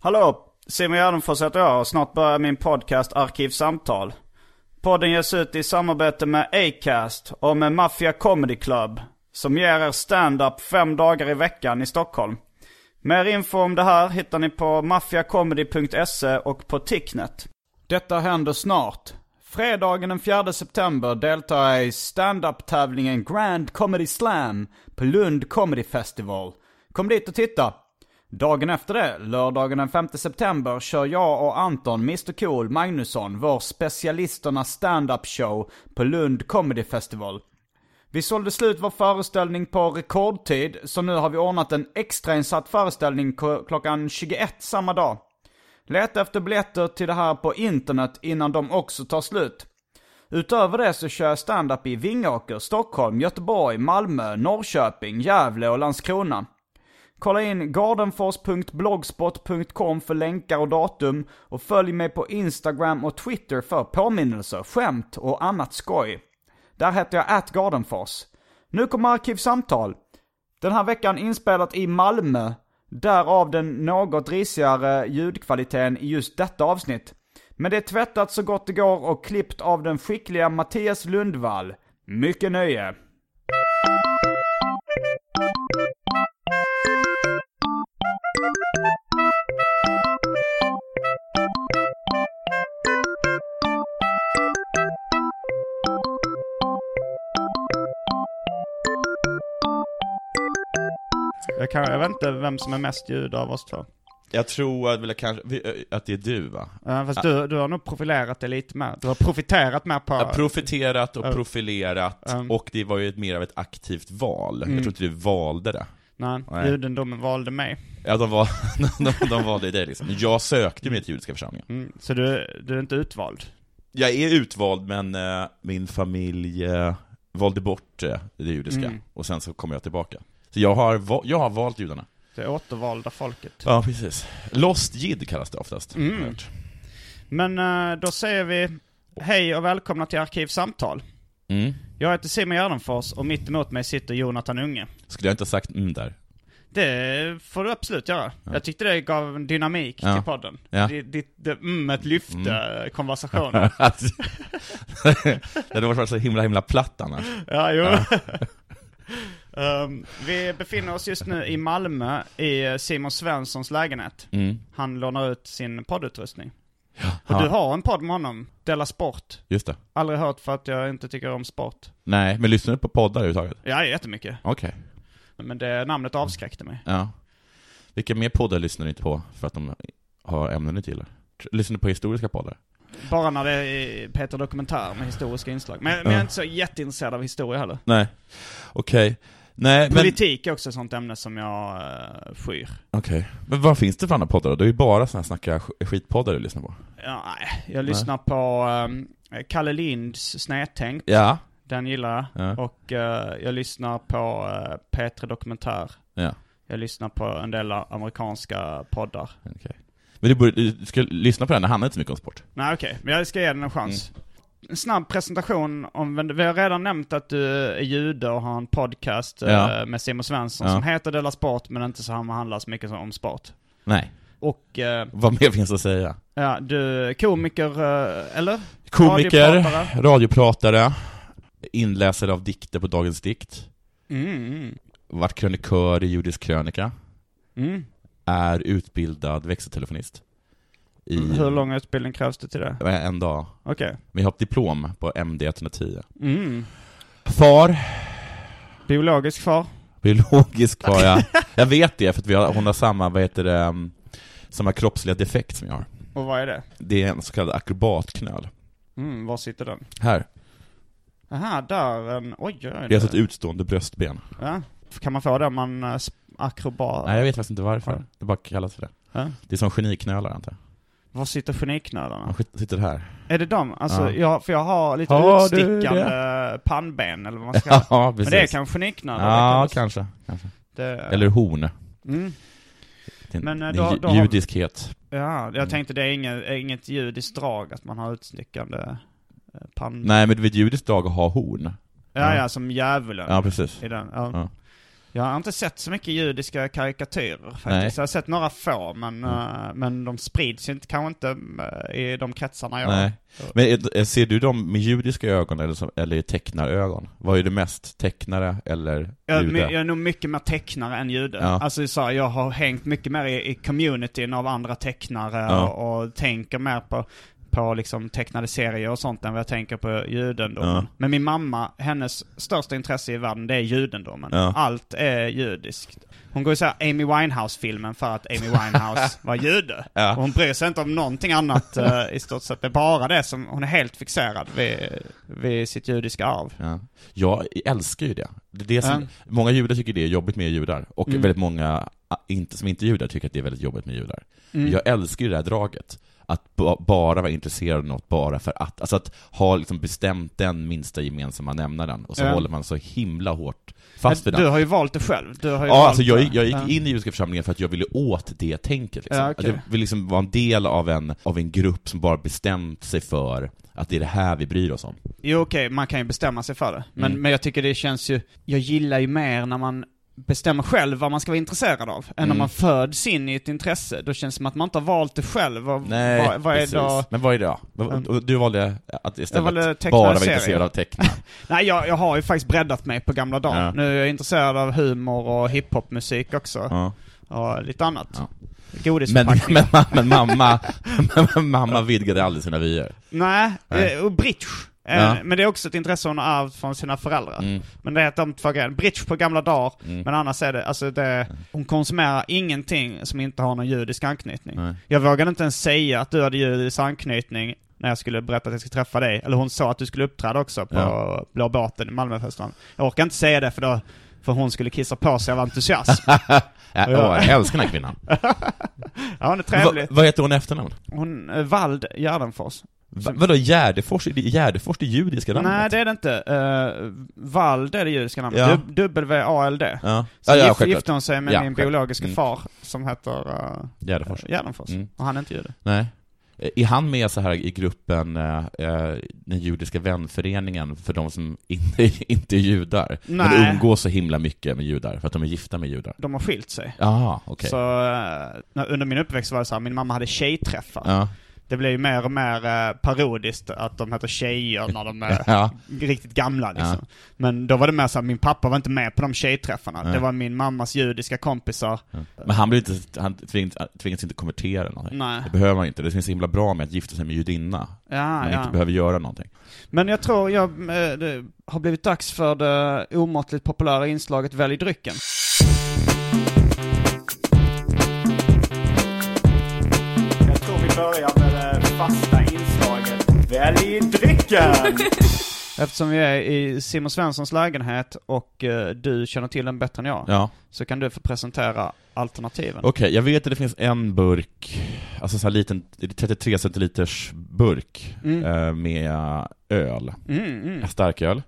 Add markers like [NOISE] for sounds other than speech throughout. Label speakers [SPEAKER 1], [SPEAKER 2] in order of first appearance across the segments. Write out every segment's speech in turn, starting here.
[SPEAKER 1] Hallå! Simon Gärdenfors heter jag och snart börjar min podcast Arkivsamtal. Podden ges ut i samarbete med Acast och med Mafia Comedy Club som ger er stand-up fem dagar i veckan i Stockholm. Mer info om det här hittar ni på mafiacomedy.se och på Ticknet. Detta händer snart. Fredagen den 4 september deltar jag i stand-up-tävlingen Grand Comedy Slam på Lund Comedy Festival. Kom dit och titta! Dagen efter det, lördagen den 5 september, kör jag och Anton Mr Cool Magnusson vår specialisternas stand-up show på Lund Comedy Festival. Vi sålde slut vår föreställning på rekordtid, så nu har vi ordnat en extrainsatt föreställning ko- klockan 21 samma dag. Leta efter biljetter till det här på internet innan de också tar slut. Utöver det så kör jag stand-up i Vingåker, Stockholm, Göteborg, Malmö, Norrköping, Gävle och Landskrona. Kolla in gardenfors.blogspot.com för länkar och datum och följ mig på Instagram och Twitter för påminnelser, skämt och annat skoj. Där heter jag atgardenfors. Nu kommer Arkivsamtal. Den här veckan inspelat i Malmö, därav den något risigare ljudkvaliteten i just detta avsnitt. Men det är tvättat så gott det går och klippt av den skickliga Mattias Lundvall. Mycket nöje! Jag, kan, jag vet inte vem som är mest ljud av oss två.
[SPEAKER 2] Jag tror att, väl, kanske, vi- att det är du va?
[SPEAKER 1] Ja, Eh, fast du, du har nog profilerat dig lite mer. Du har profiterat mer på...
[SPEAKER 2] Ja, profiterat och profilerat,
[SPEAKER 1] Mm.
[SPEAKER 2] och det var ju ett, mer av ett aktivt val. Jag tror inte du valde det.
[SPEAKER 1] nej,
[SPEAKER 2] Nej.
[SPEAKER 1] judendomen valde mig.
[SPEAKER 2] Ja, de, var, [LAUGHS] de, de valde dig liksom. Jag sökte mig till judiska församlingen.
[SPEAKER 1] Mm, så du, du är inte utvald.
[SPEAKER 2] Jag är utvald, men eh, min familj eh, valde bort eh, det judiska, och sen så kom jag tillbaka. Så jag har, va- jag har valt judarna.
[SPEAKER 1] Det återvalda folket.
[SPEAKER 2] Ja, precis. Lost jid kallas det oftast. har jag
[SPEAKER 1] Mm.
[SPEAKER 2] hört.
[SPEAKER 1] Men eh, då säger vi hej och välkomna till Arkivsamtal.
[SPEAKER 2] Mm.
[SPEAKER 1] Jag heter Simon Gärdenfors och mitt emot mig sitter Jonathan Unge.
[SPEAKER 2] Skulle jag inte ha sagt mm där?
[SPEAKER 1] Det får du absolut göra. Jag tyckte det gav en dynamik
[SPEAKER 2] Ja.
[SPEAKER 1] till podden.
[SPEAKER 2] Ja.
[SPEAKER 1] Det, det, det, mm, ett lyfte
[SPEAKER 2] [LAUGHS]
[SPEAKER 1] konversationen.
[SPEAKER 2] Att- det hade varit så himla, himla platt annars.
[SPEAKER 1] Ja, jo. [LAUGHS] Ehm, vi befinner oss just nu i Malmö i eh, Simon Svenssons lägenhet.
[SPEAKER 2] Mm.
[SPEAKER 1] Han lånar ut sin poddutrustning. Och
[SPEAKER 2] Ja.
[SPEAKER 1] du har en podd med honom, Della Sport.
[SPEAKER 2] Just det.
[SPEAKER 1] Aldrig hört för att jag inte tycker om sport.
[SPEAKER 2] Nej, men lyssnar du på poddar överhuvudtaget?
[SPEAKER 1] Ja, jättemycket.
[SPEAKER 2] Okej.
[SPEAKER 1] Men det namnet avskräckte mig.
[SPEAKER 2] Ja. Vilka mer poddar lyssnar du inte på för att de har ämnen du inte gillar? Tr- Lyssnar du på historiska poddar?
[SPEAKER 1] Bara när det är Peter Dokumentär med historiska inslag. Men, men jag är inte så jätteintresserad av historia heller.
[SPEAKER 2] Nej. Okej. Nej, men... Okej.
[SPEAKER 1] Politik är också ett sånt ämne som jag eh, skyr.
[SPEAKER 2] Men vad finns det för andra poddar då? Det är ju bara såna här snacka sk- skitpoddar du lyssnar på.
[SPEAKER 1] Ja, nej. jag lyssnar på eh, Kalle Linds Snedtänkt.
[SPEAKER 2] Ja.
[SPEAKER 1] Den gillar jag.
[SPEAKER 2] Ja.
[SPEAKER 1] Och eh, jag lyssnar på uh, Petre Dokumentär.
[SPEAKER 2] Ja.
[SPEAKER 1] Jag lyssnar på en del amerikanska poddar.
[SPEAKER 2] Okej. Men du, borde, du ska lyssna på den, det handlar inte så mycket om sport.
[SPEAKER 1] Nej okej, men jag ska ge den en chans.
[SPEAKER 2] Mm.
[SPEAKER 1] En snabb presentation om, vem- vi har redan nämnt att du är jude och har en podcast eh,
[SPEAKER 2] Ja.
[SPEAKER 1] med Simon Svensson
[SPEAKER 2] Ja.
[SPEAKER 1] som heter Della Sport men inte så han handlar så mycket om sport.
[SPEAKER 2] Nej.
[SPEAKER 1] Och eh,
[SPEAKER 2] Vad mer finns att säga?
[SPEAKER 1] ja, du är komiker, eh, eller?
[SPEAKER 2] Komiker,
[SPEAKER 1] Radiopratare.
[SPEAKER 2] radiopratare, inläsare av dikter på Dagens Dikt.
[SPEAKER 1] Mm, mm.
[SPEAKER 2] varit krönikör i judisk krönika, är utbildad växeltelefonist. I
[SPEAKER 3] Mm,
[SPEAKER 2] Eh,
[SPEAKER 3] Hur lång utbildning krävs det till det?
[SPEAKER 2] en dag.
[SPEAKER 3] Okej.
[SPEAKER 2] Vi har ett diplom på MD 110.
[SPEAKER 1] Mm.
[SPEAKER 2] Far,
[SPEAKER 3] Biologisk far?
[SPEAKER 2] biologisk
[SPEAKER 3] [LAUGHS]
[SPEAKER 2] var jag. Jag vet det för att vi har, hon har samma, vad heter det, um, samma kroppsliga defekt som jag har.
[SPEAKER 3] Och vad är det?
[SPEAKER 2] Det är en så kallad akrobatknöl.
[SPEAKER 3] Mm, var sitter den?
[SPEAKER 2] Här,
[SPEAKER 3] Aha, där. En, oj, oj, oj.
[SPEAKER 2] det är alltså ett utstående bröstben.
[SPEAKER 3] ja. Kan man få den om man eh, sp- akrobat?
[SPEAKER 2] Nej, jag vet faktiskt inte varför.
[SPEAKER 3] Ja.
[SPEAKER 2] Det bara kallas för det.
[SPEAKER 3] Ja.
[SPEAKER 2] Det är som geniknölar antar jag.
[SPEAKER 3] Var sitter geniknölarna?
[SPEAKER 2] Han skit- sitter här.
[SPEAKER 3] Är det dem? Alltså,
[SPEAKER 2] Ja.
[SPEAKER 3] jag, för jag har lite
[SPEAKER 2] Har du
[SPEAKER 3] utstickande pannben eller vad man ska kalla det.
[SPEAKER 2] [LAUGHS] Ja,
[SPEAKER 3] Men
[SPEAKER 2] precis.
[SPEAKER 3] det är kanske geniknölar?
[SPEAKER 2] Ja,
[SPEAKER 3] det kallas.
[SPEAKER 2] kanske. kanske.
[SPEAKER 3] Det-
[SPEAKER 2] Eller horn.
[SPEAKER 3] Mm.
[SPEAKER 2] Det är en-
[SPEAKER 3] Men,
[SPEAKER 2] det
[SPEAKER 3] eh,
[SPEAKER 2] är
[SPEAKER 3] då-
[SPEAKER 2] ju-
[SPEAKER 3] då har vi-
[SPEAKER 2] judiskhet.
[SPEAKER 3] Ja,
[SPEAKER 2] Mm.
[SPEAKER 3] jag tänkte det är inget, inget judiskt drag att man har utstickande eh, pann...
[SPEAKER 2] Nej, men det är ett judiskt drag att ha horn.
[SPEAKER 3] Ja,
[SPEAKER 2] ja.
[SPEAKER 3] ja, som djävulen.
[SPEAKER 2] Ja, precis.
[SPEAKER 3] I den, ja.
[SPEAKER 2] Ja.
[SPEAKER 3] Jag har inte sett så mycket judiska karikatyrer faktiskt. Jag har sett några få, men,
[SPEAKER 2] Mm.
[SPEAKER 3] eh, men de sprids ju inte, kanske inte eh, i de kretsarna jag...
[SPEAKER 2] Nej. Men är- är- ser du dem med judiska ögon eller, som, eller i tecknarögon? Vad är det mest? Tecknare eller
[SPEAKER 3] Jag,
[SPEAKER 2] jude?
[SPEAKER 3] jag är nog mycket mer tecknare än jude.
[SPEAKER 2] Ja.
[SPEAKER 3] Alltså så här, jag har hängt mycket mer i, i communityn av andra tecknare
[SPEAKER 2] Ja.
[SPEAKER 3] och, och tänker mer på, på liksom tecknade serier och sånt än vad jag tänker på judendomen.
[SPEAKER 2] Ja.
[SPEAKER 3] Men min mamma, hennes största intresse i världen det är judendomen.
[SPEAKER 2] Ja.
[SPEAKER 3] Allt är judiskt. Hon går ju såhär Amy Winehouse-filmen för att Amy
[SPEAKER 2] [LAUGHS]
[SPEAKER 3] Winehouse var jude.
[SPEAKER 2] Ja.
[SPEAKER 3] Och hon bryr sig inte om någonting
[SPEAKER 2] [LAUGHS]
[SPEAKER 3] annat eh, i stort sett. Det är bara det som, hon är helt fixerad vid, vid sitt judiska arv.
[SPEAKER 2] Ja. Jag älskar ju det. det, är det som,
[SPEAKER 3] Ja. Mm.
[SPEAKER 2] Många judar tycker det är jobbigt med judar, och väldigt många ah, inte, som inte är judar tycker att det är väldigt jobbigt med judar.
[SPEAKER 3] Mm.
[SPEAKER 2] Jag älskar ju det här draget, att ba, bara vara intresserad av något bara för att, alltså att ha liksom bestämt den minsta gemensamma nämnaren, och så
[SPEAKER 3] Ja.
[SPEAKER 2] håller man så himla hårt fast vid
[SPEAKER 3] du
[SPEAKER 2] den.
[SPEAKER 3] har ju valt det själv. Du har ju
[SPEAKER 2] Ja,
[SPEAKER 3] valt
[SPEAKER 2] alltså jag,
[SPEAKER 3] det.
[SPEAKER 2] jag gick
[SPEAKER 3] Ja.
[SPEAKER 2] in i judiska församlingen för att jag ville åt det tänket liksom.
[SPEAKER 3] Ja, okej.
[SPEAKER 2] Att Jag ville liksom vara en del av en, av en grupp som bara bestämt sig för att det är det här vi bryr oss om.
[SPEAKER 3] Jo okej, man kan ju bestämma sig för det. Men,
[SPEAKER 2] Mm.
[SPEAKER 3] men jag tycker det känns ju, jag gillar ju mer när man bestämmer själv vad man ska vara intresserad av. Än
[SPEAKER 2] Mm.
[SPEAKER 3] när man föds in i ett intresse. Då känns det som att man inte har valt det själv. Vad,
[SPEAKER 2] Nej,
[SPEAKER 3] vad, vad är
[SPEAKER 2] precis.
[SPEAKER 3] då...
[SPEAKER 2] Men vad är det då? Vad-
[SPEAKER 3] Mm.
[SPEAKER 2] och Du valde att
[SPEAKER 3] Jag
[SPEAKER 2] istället
[SPEAKER 3] valde tecknade
[SPEAKER 2] bara vara
[SPEAKER 3] serier.
[SPEAKER 2] intresserad
[SPEAKER 3] [LAUGHS]
[SPEAKER 2] av teckna.
[SPEAKER 3] Nej, jag, jag har ju faktiskt breddat mig på gamla dagar.
[SPEAKER 2] Ja.
[SPEAKER 3] Nu är jag intresserad av humor och hiphopmusik också.
[SPEAKER 2] Ja.
[SPEAKER 3] Och lite annat.
[SPEAKER 2] Ja. men,
[SPEAKER 3] Godisförpackningar.
[SPEAKER 2] men, men mamma, [LAUGHS] men mamma vidgade aldrig sina vyer.
[SPEAKER 3] Nej,
[SPEAKER 2] Nej.
[SPEAKER 3] eh, och bridge. Eh,
[SPEAKER 2] Ja. Mm.
[SPEAKER 3] Men det är också ett intresse hon har ärvt från sina föräldrar. Men det är de två grejerna. Bridge på gamla dagar, men annars är det, alltså det, hon konsumerar ingenting som inte har någon judisk anknytning.
[SPEAKER 2] Nej.
[SPEAKER 3] Jag vågade inte ens säga att du hade judisk anknytning när jag skulle berätta att jag skulle träffa dig. Eller hon sa att du skulle uppträda också på
[SPEAKER 2] Ja.
[SPEAKER 3] Blå båten i Malmöfestivalen. Jag orkade inte säga det för då, för hon skulle kissa på sig av
[SPEAKER 2] [LAUGHS]
[SPEAKER 3] entusiasm.
[SPEAKER 2] Äh, åh, jag älskar den
[SPEAKER 3] [LAUGHS]
[SPEAKER 2] här kvinnan.
[SPEAKER 3] ja, hon är
[SPEAKER 2] Va,
[SPEAKER 3] trevlig.
[SPEAKER 2] vad heter hon i efternamn?
[SPEAKER 3] Hon, eh, Vald Gärdenfors.
[SPEAKER 2] Va, vadå Gärdefors? Är det- Gärdefors det judiska namnet?
[SPEAKER 3] Nej, det är det inte. Eh, Vald är det judiska namnet.
[SPEAKER 2] Ja.
[SPEAKER 3] Dub- W-A-L-D.
[SPEAKER 2] Ja,
[SPEAKER 3] Så
[SPEAKER 2] ja, ja
[SPEAKER 3] gift,
[SPEAKER 2] självklart.
[SPEAKER 3] gifte hon sig med
[SPEAKER 2] Ja,
[SPEAKER 3] min
[SPEAKER 2] självklart.
[SPEAKER 3] biologiska
[SPEAKER 2] Mm.
[SPEAKER 3] far som heter eh,
[SPEAKER 2] Gärdefors.
[SPEAKER 3] Gärdenfors.
[SPEAKER 2] Mm.
[SPEAKER 3] Och han är inte jude.
[SPEAKER 2] Nej. Eh, Är han med så här i gruppen, eh, eh, den judiska vänföreningen, för de som [LAUGHS] inte, inte är judar? Men
[SPEAKER 3] Nej.
[SPEAKER 2] umgås så himla mycket med judar, för att de är gifta med judar?
[SPEAKER 3] De har skilt sig.
[SPEAKER 2] Jaha, okej.
[SPEAKER 3] Så eh, när- under min uppväxt var det så här, min mamma hade tjejträffar.
[SPEAKER 2] Ja.
[SPEAKER 3] Det blev ju mer och mer eh, parodiskt att de heter tjejer när
[SPEAKER 2] [LAUGHS]
[SPEAKER 3] de är
[SPEAKER 2] Ja.
[SPEAKER 3] riktigt gamla liksom. Men då var det mer så här, min pappa var inte med på de tjejträffarna. Det var min mammas judiska kompisar.
[SPEAKER 2] Men han, blir inte, han tvingas, tvingas inte konvertera eller någonting.
[SPEAKER 3] Nej.
[SPEAKER 2] Det behöver man inte. Det finns så himla bra med att gifta sig med judinna.
[SPEAKER 3] Ja,
[SPEAKER 2] man
[SPEAKER 3] ja.
[SPEAKER 2] inte behöver göra någonting.
[SPEAKER 3] Men jag tror jag, eh, det har blivit dags för det omåttligt populära inslaget Välj drycken. Jag tror vi börjar med det fasta inslaget Välj drycken! Eftersom vi är i Simon Svenssons lägenhet och eh, du känner till den bättre än jag
[SPEAKER 2] Ja.
[SPEAKER 3] så kan du få presentera alternativen.
[SPEAKER 2] Okej, jag vet att det finns en burk, alltså så här liten 33 centiliters burk
[SPEAKER 3] Mm.
[SPEAKER 2] eh, med öl. Starköl.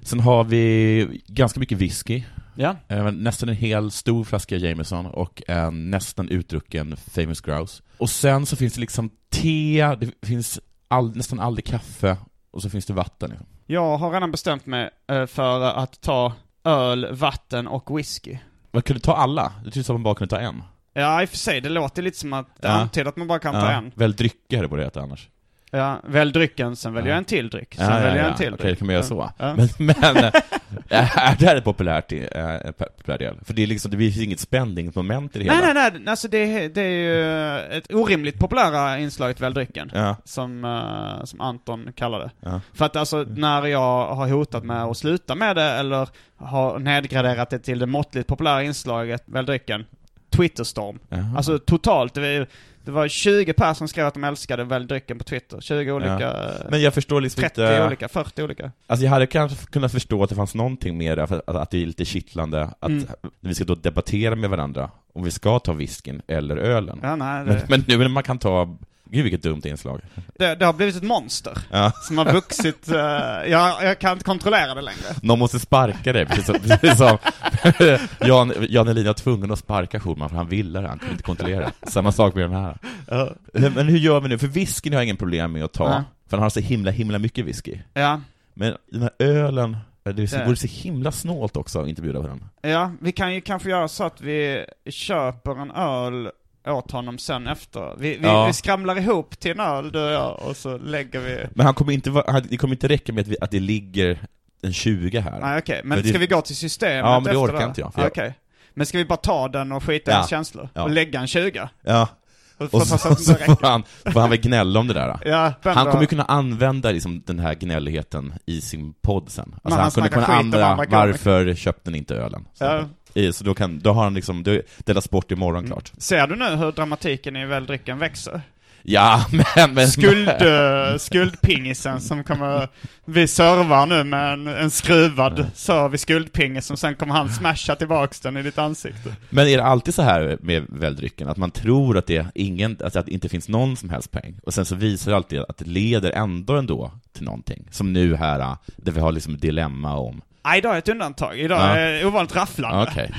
[SPEAKER 2] Sen har vi ganska mycket whisky.
[SPEAKER 3] Ja.
[SPEAKER 2] Eh, Nästan en hel stor flaska Jameson och en nästan utdrucken Famous Grouse. Och sen så finns det liksom te, det finns all, nästan aldrig kaffe och så finns det vatten. Liksom.
[SPEAKER 3] Jag har redan bestämt mig eh, för att ta öl, vatten och whisky.
[SPEAKER 2] Man kunde ta alla, det tyckte som man bara kunde ta en.
[SPEAKER 3] Ja, i och för sig. Det låter lite som att det
[SPEAKER 2] Ja.
[SPEAKER 3] antyder att man bara kan ta en.
[SPEAKER 2] Väl drycker borde det heta annars.
[SPEAKER 3] Ja, välj drycken, sen väljer jag en till dryck, sen
[SPEAKER 2] Ja, ja,
[SPEAKER 3] väljer jag
[SPEAKER 2] ja.
[SPEAKER 3] en till
[SPEAKER 2] Okej,
[SPEAKER 3] dryck.
[SPEAKER 2] kan man göra så.
[SPEAKER 3] Ja.
[SPEAKER 2] [LAUGHS] Men, men, är det här ett populärt, eh, en populär del? För det, är liksom, det finns inget spänningsmoment i det hela.
[SPEAKER 3] Nej, nej, nej, alltså det, är- det är ju ett orimligt populära inslaget Välj drycken.
[SPEAKER 2] Ja.
[SPEAKER 3] Som, eh, som Anton kallar det.
[SPEAKER 2] Ja. Mm.
[SPEAKER 3] För att alltså när jag har hotat med att sluta med det eller har nedgraderat det till det måttligt populära inslaget Välj drycken, Twitterstorm.
[SPEAKER 2] Jaha.
[SPEAKER 3] Alltså totalt, det var, det var 20 personer som skrev att de älskade Välj drycken på Twitter. 20 olika, eh,
[SPEAKER 2] Men jag förstår liksom
[SPEAKER 3] 30
[SPEAKER 2] inte...
[SPEAKER 3] olika, 40 olika.
[SPEAKER 2] Alltså jag hade kanske kunnat förstå att det fanns någonting mer där, för att, att det är lite kittlande att
[SPEAKER 3] Mm.
[SPEAKER 2] vi ska då debattera med varandra om vi ska ta whiskyn eller ölen.
[SPEAKER 3] Ja, nej,
[SPEAKER 2] Men,
[SPEAKER 3] det,
[SPEAKER 2] men nu när man kan ta... Gud vilket dumt inslag.
[SPEAKER 3] det, det har blivit ett monster.
[SPEAKER 2] Ja.
[SPEAKER 3] Som har vuxit, eh, jag, jag kan inte kontrollera det
[SPEAKER 2] [LAUGHS]
[SPEAKER 3] längre.
[SPEAKER 2] Någon måste sparka dig, precis som, precis som [LAUGHS] Jan, Jan Elin var tvungen att sparka Schulman för han ville det, han kunde inte kontrollera det. Samma sak med den här. Men men hur gör vi nu? För whiskyn har jag ingen problem med att ta,
[SPEAKER 3] Nej.
[SPEAKER 2] för han har så himla, himla mycket whisky.
[SPEAKER 3] Ja.
[SPEAKER 2] Men den här ölen, det
[SPEAKER 3] Det-
[SPEAKER 2] vore så himla snålt också att inte bjuda på den.
[SPEAKER 3] Ja, vi kan ju kanske göra så att vi köper en öl åt honom sen efter. Vi, vi,
[SPEAKER 2] Ja.
[SPEAKER 3] vi skramlar ihop till en öl du och jag och så lägger vi...
[SPEAKER 2] Men han kommer inte, vara- han, det kommer inte räcka med att, vi, att det ligger en 20 här.
[SPEAKER 3] Nej okej, men,
[SPEAKER 2] Men det-
[SPEAKER 3] ska vi gå till systemet
[SPEAKER 2] Ja, men det
[SPEAKER 3] efter
[SPEAKER 2] orkar inte jag, för
[SPEAKER 3] Ja,
[SPEAKER 2] jag-
[SPEAKER 3] Okej. Men ska vi bara ta den och skita i
[SPEAKER 2] Ja.
[SPEAKER 3] hans känslor?
[SPEAKER 2] Ja.
[SPEAKER 3] Och lägga en 20?
[SPEAKER 2] Ja.
[SPEAKER 3] Och
[SPEAKER 2] Och
[SPEAKER 3] så,
[SPEAKER 2] så,
[SPEAKER 3] så att
[SPEAKER 2] så
[SPEAKER 3] det
[SPEAKER 2] får,
[SPEAKER 3] räcker.
[SPEAKER 2] [LAUGHS] han, får han väl gnälla om det där. då.
[SPEAKER 3] Ja, vem
[SPEAKER 2] Han
[SPEAKER 3] då?
[SPEAKER 2] kommer ju kunna använda liksom den här gnälligheten i sin podd sen. Alltså
[SPEAKER 3] han
[SPEAKER 2] han kommer
[SPEAKER 3] snackar
[SPEAKER 2] kunna
[SPEAKER 3] skit om
[SPEAKER 2] andra,
[SPEAKER 3] andra komiker.
[SPEAKER 2] varför köpte ni inte ölen? Så,
[SPEAKER 3] Ja. Mm.
[SPEAKER 2] I, så då, kan, då har han liksom, då delas bort imorgon klart.
[SPEAKER 3] Ser du nu hur dramatiken i väldrycken växer?
[SPEAKER 2] Ja, [LAUGHS] men... men
[SPEAKER 3] Skuld, eh, skuldpingisen som kommer... Vi servar nu med en, en skruvad serv i skuldpingis som sen kommer han smasha tillbaks den i ditt ansikte.
[SPEAKER 2] Men är det alltid så här med väldrycken, att man tror att det, ingen, alltså att det inte finns någon som helst poäng, och sen så visar det alltid att det leder ändå ändå till någonting? Som nu här, ah, där vi har liksom ett dilemma om...
[SPEAKER 3] Nej, idag är ett undantag. Idag
[SPEAKER 2] Ja.
[SPEAKER 3] är det ovanligt rafflande.
[SPEAKER 2] Okej.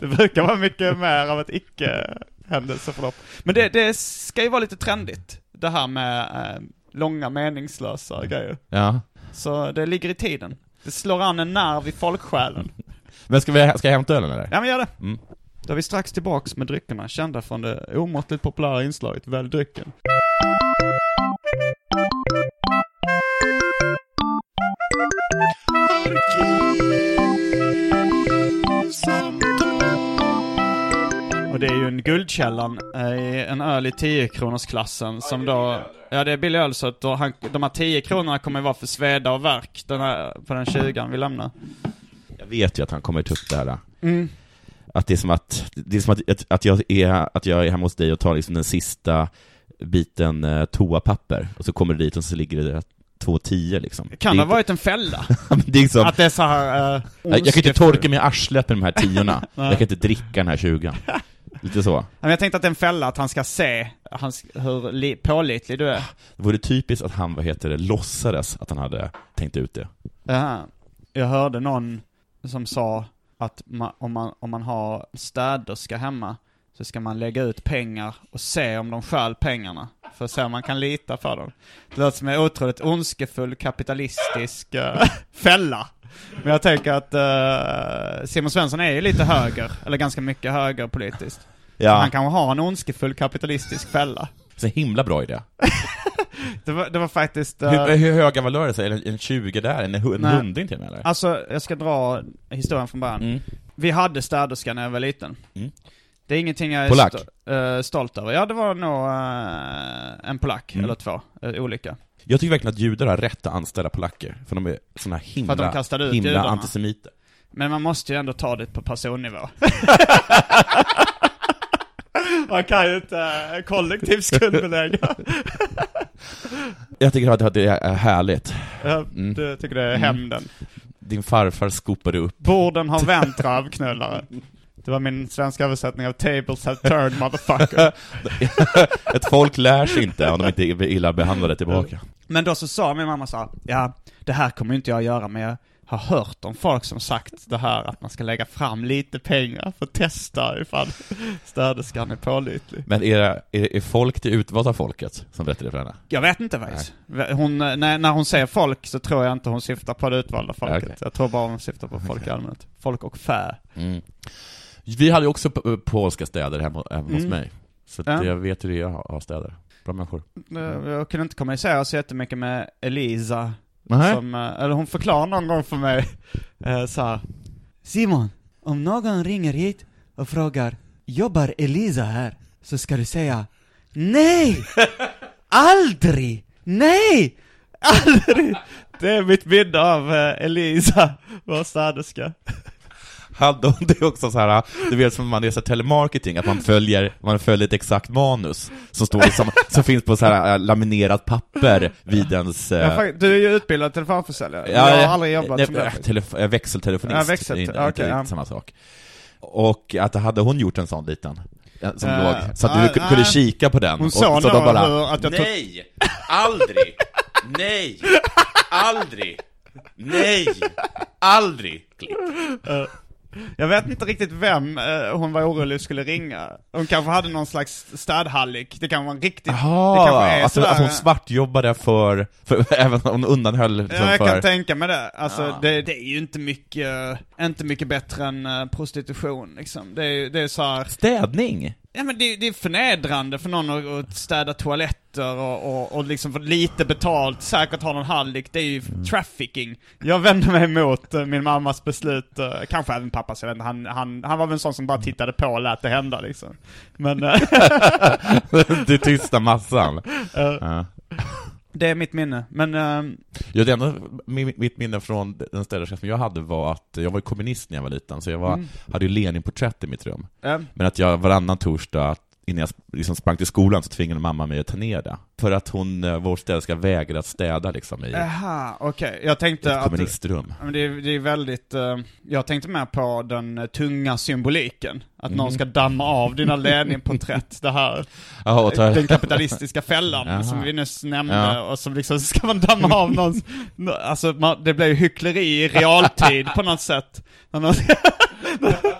[SPEAKER 3] Det brukar vara mycket mer av ett icke-händelseförlopp. Men det, det ska ju vara lite trendigt, det här med eh, långa meningslösa grejer.
[SPEAKER 2] [LAUGHS] Ja.
[SPEAKER 3] Så det ligger i tiden. Det slår an en nerv i folksjälen.
[SPEAKER 2] Men ska, vi, ska jag hämta ölen eller?
[SPEAKER 3] Ja men gör det.
[SPEAKER 2] Mm.
[SPEAKER 3] Då är vi strax tillbaks med dryckerna, kända från det omåttligt populära inslaget Välj drycken. Och det är ju en guldkällan, eh, en öl i 10-kronorsklassen som då... Ja, det är billig öl så att då han, de här 10 kronorna kommer ju vara för sveda och verk den här, på den 20 vi lämnar.
[SPEAKER 2] Jag vet ju att han kommer ta upp det här. äh. Att det är som att, det är som att, att, att, jag är, att jag är hemma hos dig och tar liksom den sista biten eh, toapapper, och så kommer du dit och så ligger det två tio liksom.
[SPEAKER 3] Kan det
[SPEAKER 2] det
[SPEAKER 3] ha varit en fälla?
[SPEAKER 2] varit... [LAUGHS] det är liksom,
[SPEAKER 3] Att det är så här... eh,
[SPEAKER 2] jag, jag kan inte
[SPEAKER 3] ondskefullt.
[SPEAKER 2] torka mig i arslet med de här tiorna.
[SPEAKER 3] [LAUGHS] Nej.
[SPEAKER 2] jag kan inte dricka den här tjugan.
[SPEAKER 3] [LAUGHS]
[SPEAKER 2] Lite så.
[SPEAKER 3] Men jag tänkte att det är en fälla, att han ska se hans, hur li, pålitlig du är.
[SPEAKER 2] Det vore typiskt att han, vad heter det, låtsades att han hade tänkt ut det.
[SPEAKER 3] Jaha. Jag hörde någon som sa att ma, om, man, om man har städerska hemma så ska man lägga ut pengar och se om de stjäl pengarna. För att se om man kan lita på dem. Det låter som en otroligt ondskefull kapitalistisk eh, [LAUGHS] fälla. Men jag tänker att eh, Simon Svensson är ju lite höger, eller ganska mycket höger politiskt.
[SPEAKER 2] Ja,
[SPEAKER 3] Han kanske har en ondskefull kapitalistisk fälla.
[SPEAKER 2] så himla bra idé.
[SPEAKER 3] Det var, det var faktiskt... eh,
[SPEAKER 2] Hur, hur höga valörer säger en, en 20 där? En, hu- en
[SPEAKER 3] Nej.
[SPEAKER 2] hundring till och med eller?
[SPEAKER 3] Alltså, jag ska dra historien från början.
[SPEAKER 2] Mm.
[SPEAKER 3] Vi hade städerska när jag var liten.
[SPEAKER 2] Mm.
[SPEAKER 3] Det är ingenting jag är
[SPEAKER 2] Polack.
[SPEAKER 3] eh, stolt över. Ja, det var nog eh, en polack,
[SPEAKER 2] Mm.
[SPEAKER 3] eller två, eh, olika.
[SPEAKER 2] Jag tycker verkligen att judar har rätt att anställa polacker, för de är såna
[SPEAKER 3] För att de
[SPEAKER 2] himla,
[SPEAKER 3] kastade ut
[SPEAKER 2] himla
[SPEAKER 3] judarna.
[SPEAKER 2] antisemiter.
[SPEAKER 3] Men man måste ju ändå ta det på
[SPEAKER 2] [LAUGHS]
[SPEAKER 3] personnivå. man kan ju inte eh, kollektivt skuldbelägga.
[SPEAKER 2] [LAUGHS] Jag tycker att det är härligt.
[SPEAKER 3] Eh,
[SPEAKER 2] Mm.
[SPEAKER 3] Du tycker det är hämnden.
[SPEAKER 2] Din farfar skopade upp. [LAUGHS]
[SPEAKER 3] Borden har vänt rövknullare. Det var min svenska översättning av Tables have turned motherfucker.
[SPEAKER 2] Ett folk lär sig inte om de inte är illa behandlade tillbaka.
[SPEAKER 3] Men då så sa min mamma så här, ja, det här kommer ju inte jag göra, men jag har hört om folk som sagt det här att man ska lägga fram lite pengar för att testa ifall städerskan är pålitlig.
[SPEAKER 2] Men är, det- är, är folk det utvalda folket som berättade för henne?
[SPEAKER 3] Jag vet inte faktiskt. Hon, när, när hon säger folk så tror jag inte hon syftar på det utvalda folket.
[SPEAKER 2] Okej.
[SPEAKER 3] Jag tror bara hon syftar på folk i allmänhet. Folk och fä.
[SPEAKER 2] Vi hade ju också p- polska städer hemma, hemma hos
[SPEAKER 3] Mm.
[SPEAKER 2] mig. Så att
[SPEAKER 3] Ja.
[SPEAKER 2] jag vet hur det är att ha städer. Bra människor.
[SPEAKER 3] Jag kunde inte kommunicera så jättemycket med Elisa
[SPEAKER 2] Nej.
[SPEAKER 3] Som, eh, eller hon förklarar någon gång för mig [LAUGHS] eh, så här. Simon, om någon ringer hit och frågar Jobbar Elisa här? Så ska du säga Nej! Aldrig! Nej! Aldrig! [LAUGHS] Det är mitt minne av eh, Elisa, vår städerska.
[SPEAKER 2] Hade hon det också så här, du vet som när man läser telemarketing, att man följer, man följer ett exakt manus som står liksom, som finns på så här eh, laminerat papper vid ens... eh,
[SPEAKER 3] Ja, fakt- du är ju utbildad telefonförsäljare.
[SPEAKER 2] ja,
[SPEAKER 3] jag
[SPEAKER 2] ja,
[SPEAKER 3] har aldrig jobbat
[SPEAKER 2] nej,
[SPEAKER 3] som det.
[SPEAKER 2] telef- eh, Växeltelefonist,
[SPEAKER 3] Ja, växel-
[SPEAKER 2] det är inte,
[SPEAKER 3] ja,
[SPEAKER 2] inte
[SPEAKER 3] okej,
[SPEAKER 2] riktigt
[SPEAKER 3] ja.
[SPEAKER 2] samma sak. Och att hade hon gjort en sån liten, eh, som
[SPEAKER 3] Eh,
[SPEAKER 2] låg, så att
[SPEAKER 3] nej,
[SPEAKER 2] du kunde
[SPEAKER 3] nej.
[SPEAKER 2] kika på den.
[SPEAKER 3] Hon sa
[SPEAKER 2] så
[SPEAKER 3] nog hur- att jag tog-
[SPEAKER 2] Nej! Aldrig! Nej! Aldrig! Nej! Aldrig! Klick.
[SPEAKER 3] Jag vet inte riktigt vem eh, hon var orolig skulle ringa. Hon kanske hade någon slags städhallik. Det kan vara en riktig... det
[SPEAKER 2] Jaha,
[SPEAKER 3] kanske är
[SPEAKER 2] alltså,
[SPEAKER 3] sådär-
[SPEAKER 2] alltså hon svartjobbade för, för [LAUGHS] även om hon undanhöll liksom
[SPEAKER 3] Ja, jag
[SPEAKER 2] för...
[SPEAKER 3] kan tänka mig det. Alltså, det, det är ju inte mycket, eh, inte mycket bättre än eh, prostitution liksom. Det är, ju- det är så här,
[SPEAKER 2] Städning?
[SPEAKER 3] ja, men det, det är förnedrande för någon att, att städa toaletter och, och, och liksom få lite betalt, säkert ha någon hallick. Det är ju trafficking. Jag vänder mig emot eh, min mammas beslut, eh, kanske även pappas, jag vet inte. Han, han, han var väl en sån som bara tittade på och lät det hända liksom. Men eh, [LAUGHS]
[SPEAKER 2] det tysta massan. Ja.
[SPEAKER 3] det är mitt minne. Men eh,
[SPEAKER 2] Ja, det enda mi- mitt minne från den städerska som jag hade var att jag var ju kommunist när jag var liten, så jag var, hade ju Lenin-porträtt i mitt rum.
[SPEAKER 3] Mm. Ja.
[SPEAKER 2] Men att jag varannan torsdag, innan jag sp- liksom sprang till skolan, så tvingade mamma mig att ta ner det. För att hon, eh, vår städerska, vägrade att städa liksom i
[SPEAKER 3] aha, okej. Jag tänkte
[SPEAKER 2] ett
[SPEAKER 3] Äh, att...
[SPEAKER 2] kommunistrum.
[SPEAKER 3] Ja, Men det, är, det är väldigt, eh, jag tänkte mer på den eh, tunga symboliken. Att någon ska damma av dina Lenin-porträtt, det här,
[SPEAKER 2] Jaha, och ta-
[SPEAKER 3] den kapitalistiska fällan
[SPEAKER 2] Jaha.
[SPEAKER 3] som vi nyss nämnde
[SPEAKER 2] Ja.
[SPEAKER 3] och som liksom [LAUGHS] ska man damma av någons, nå- alltså man, det blir ju hyckleri i realtid på något sätt. När någon-
[SPEAKER 2] [LAUGHS]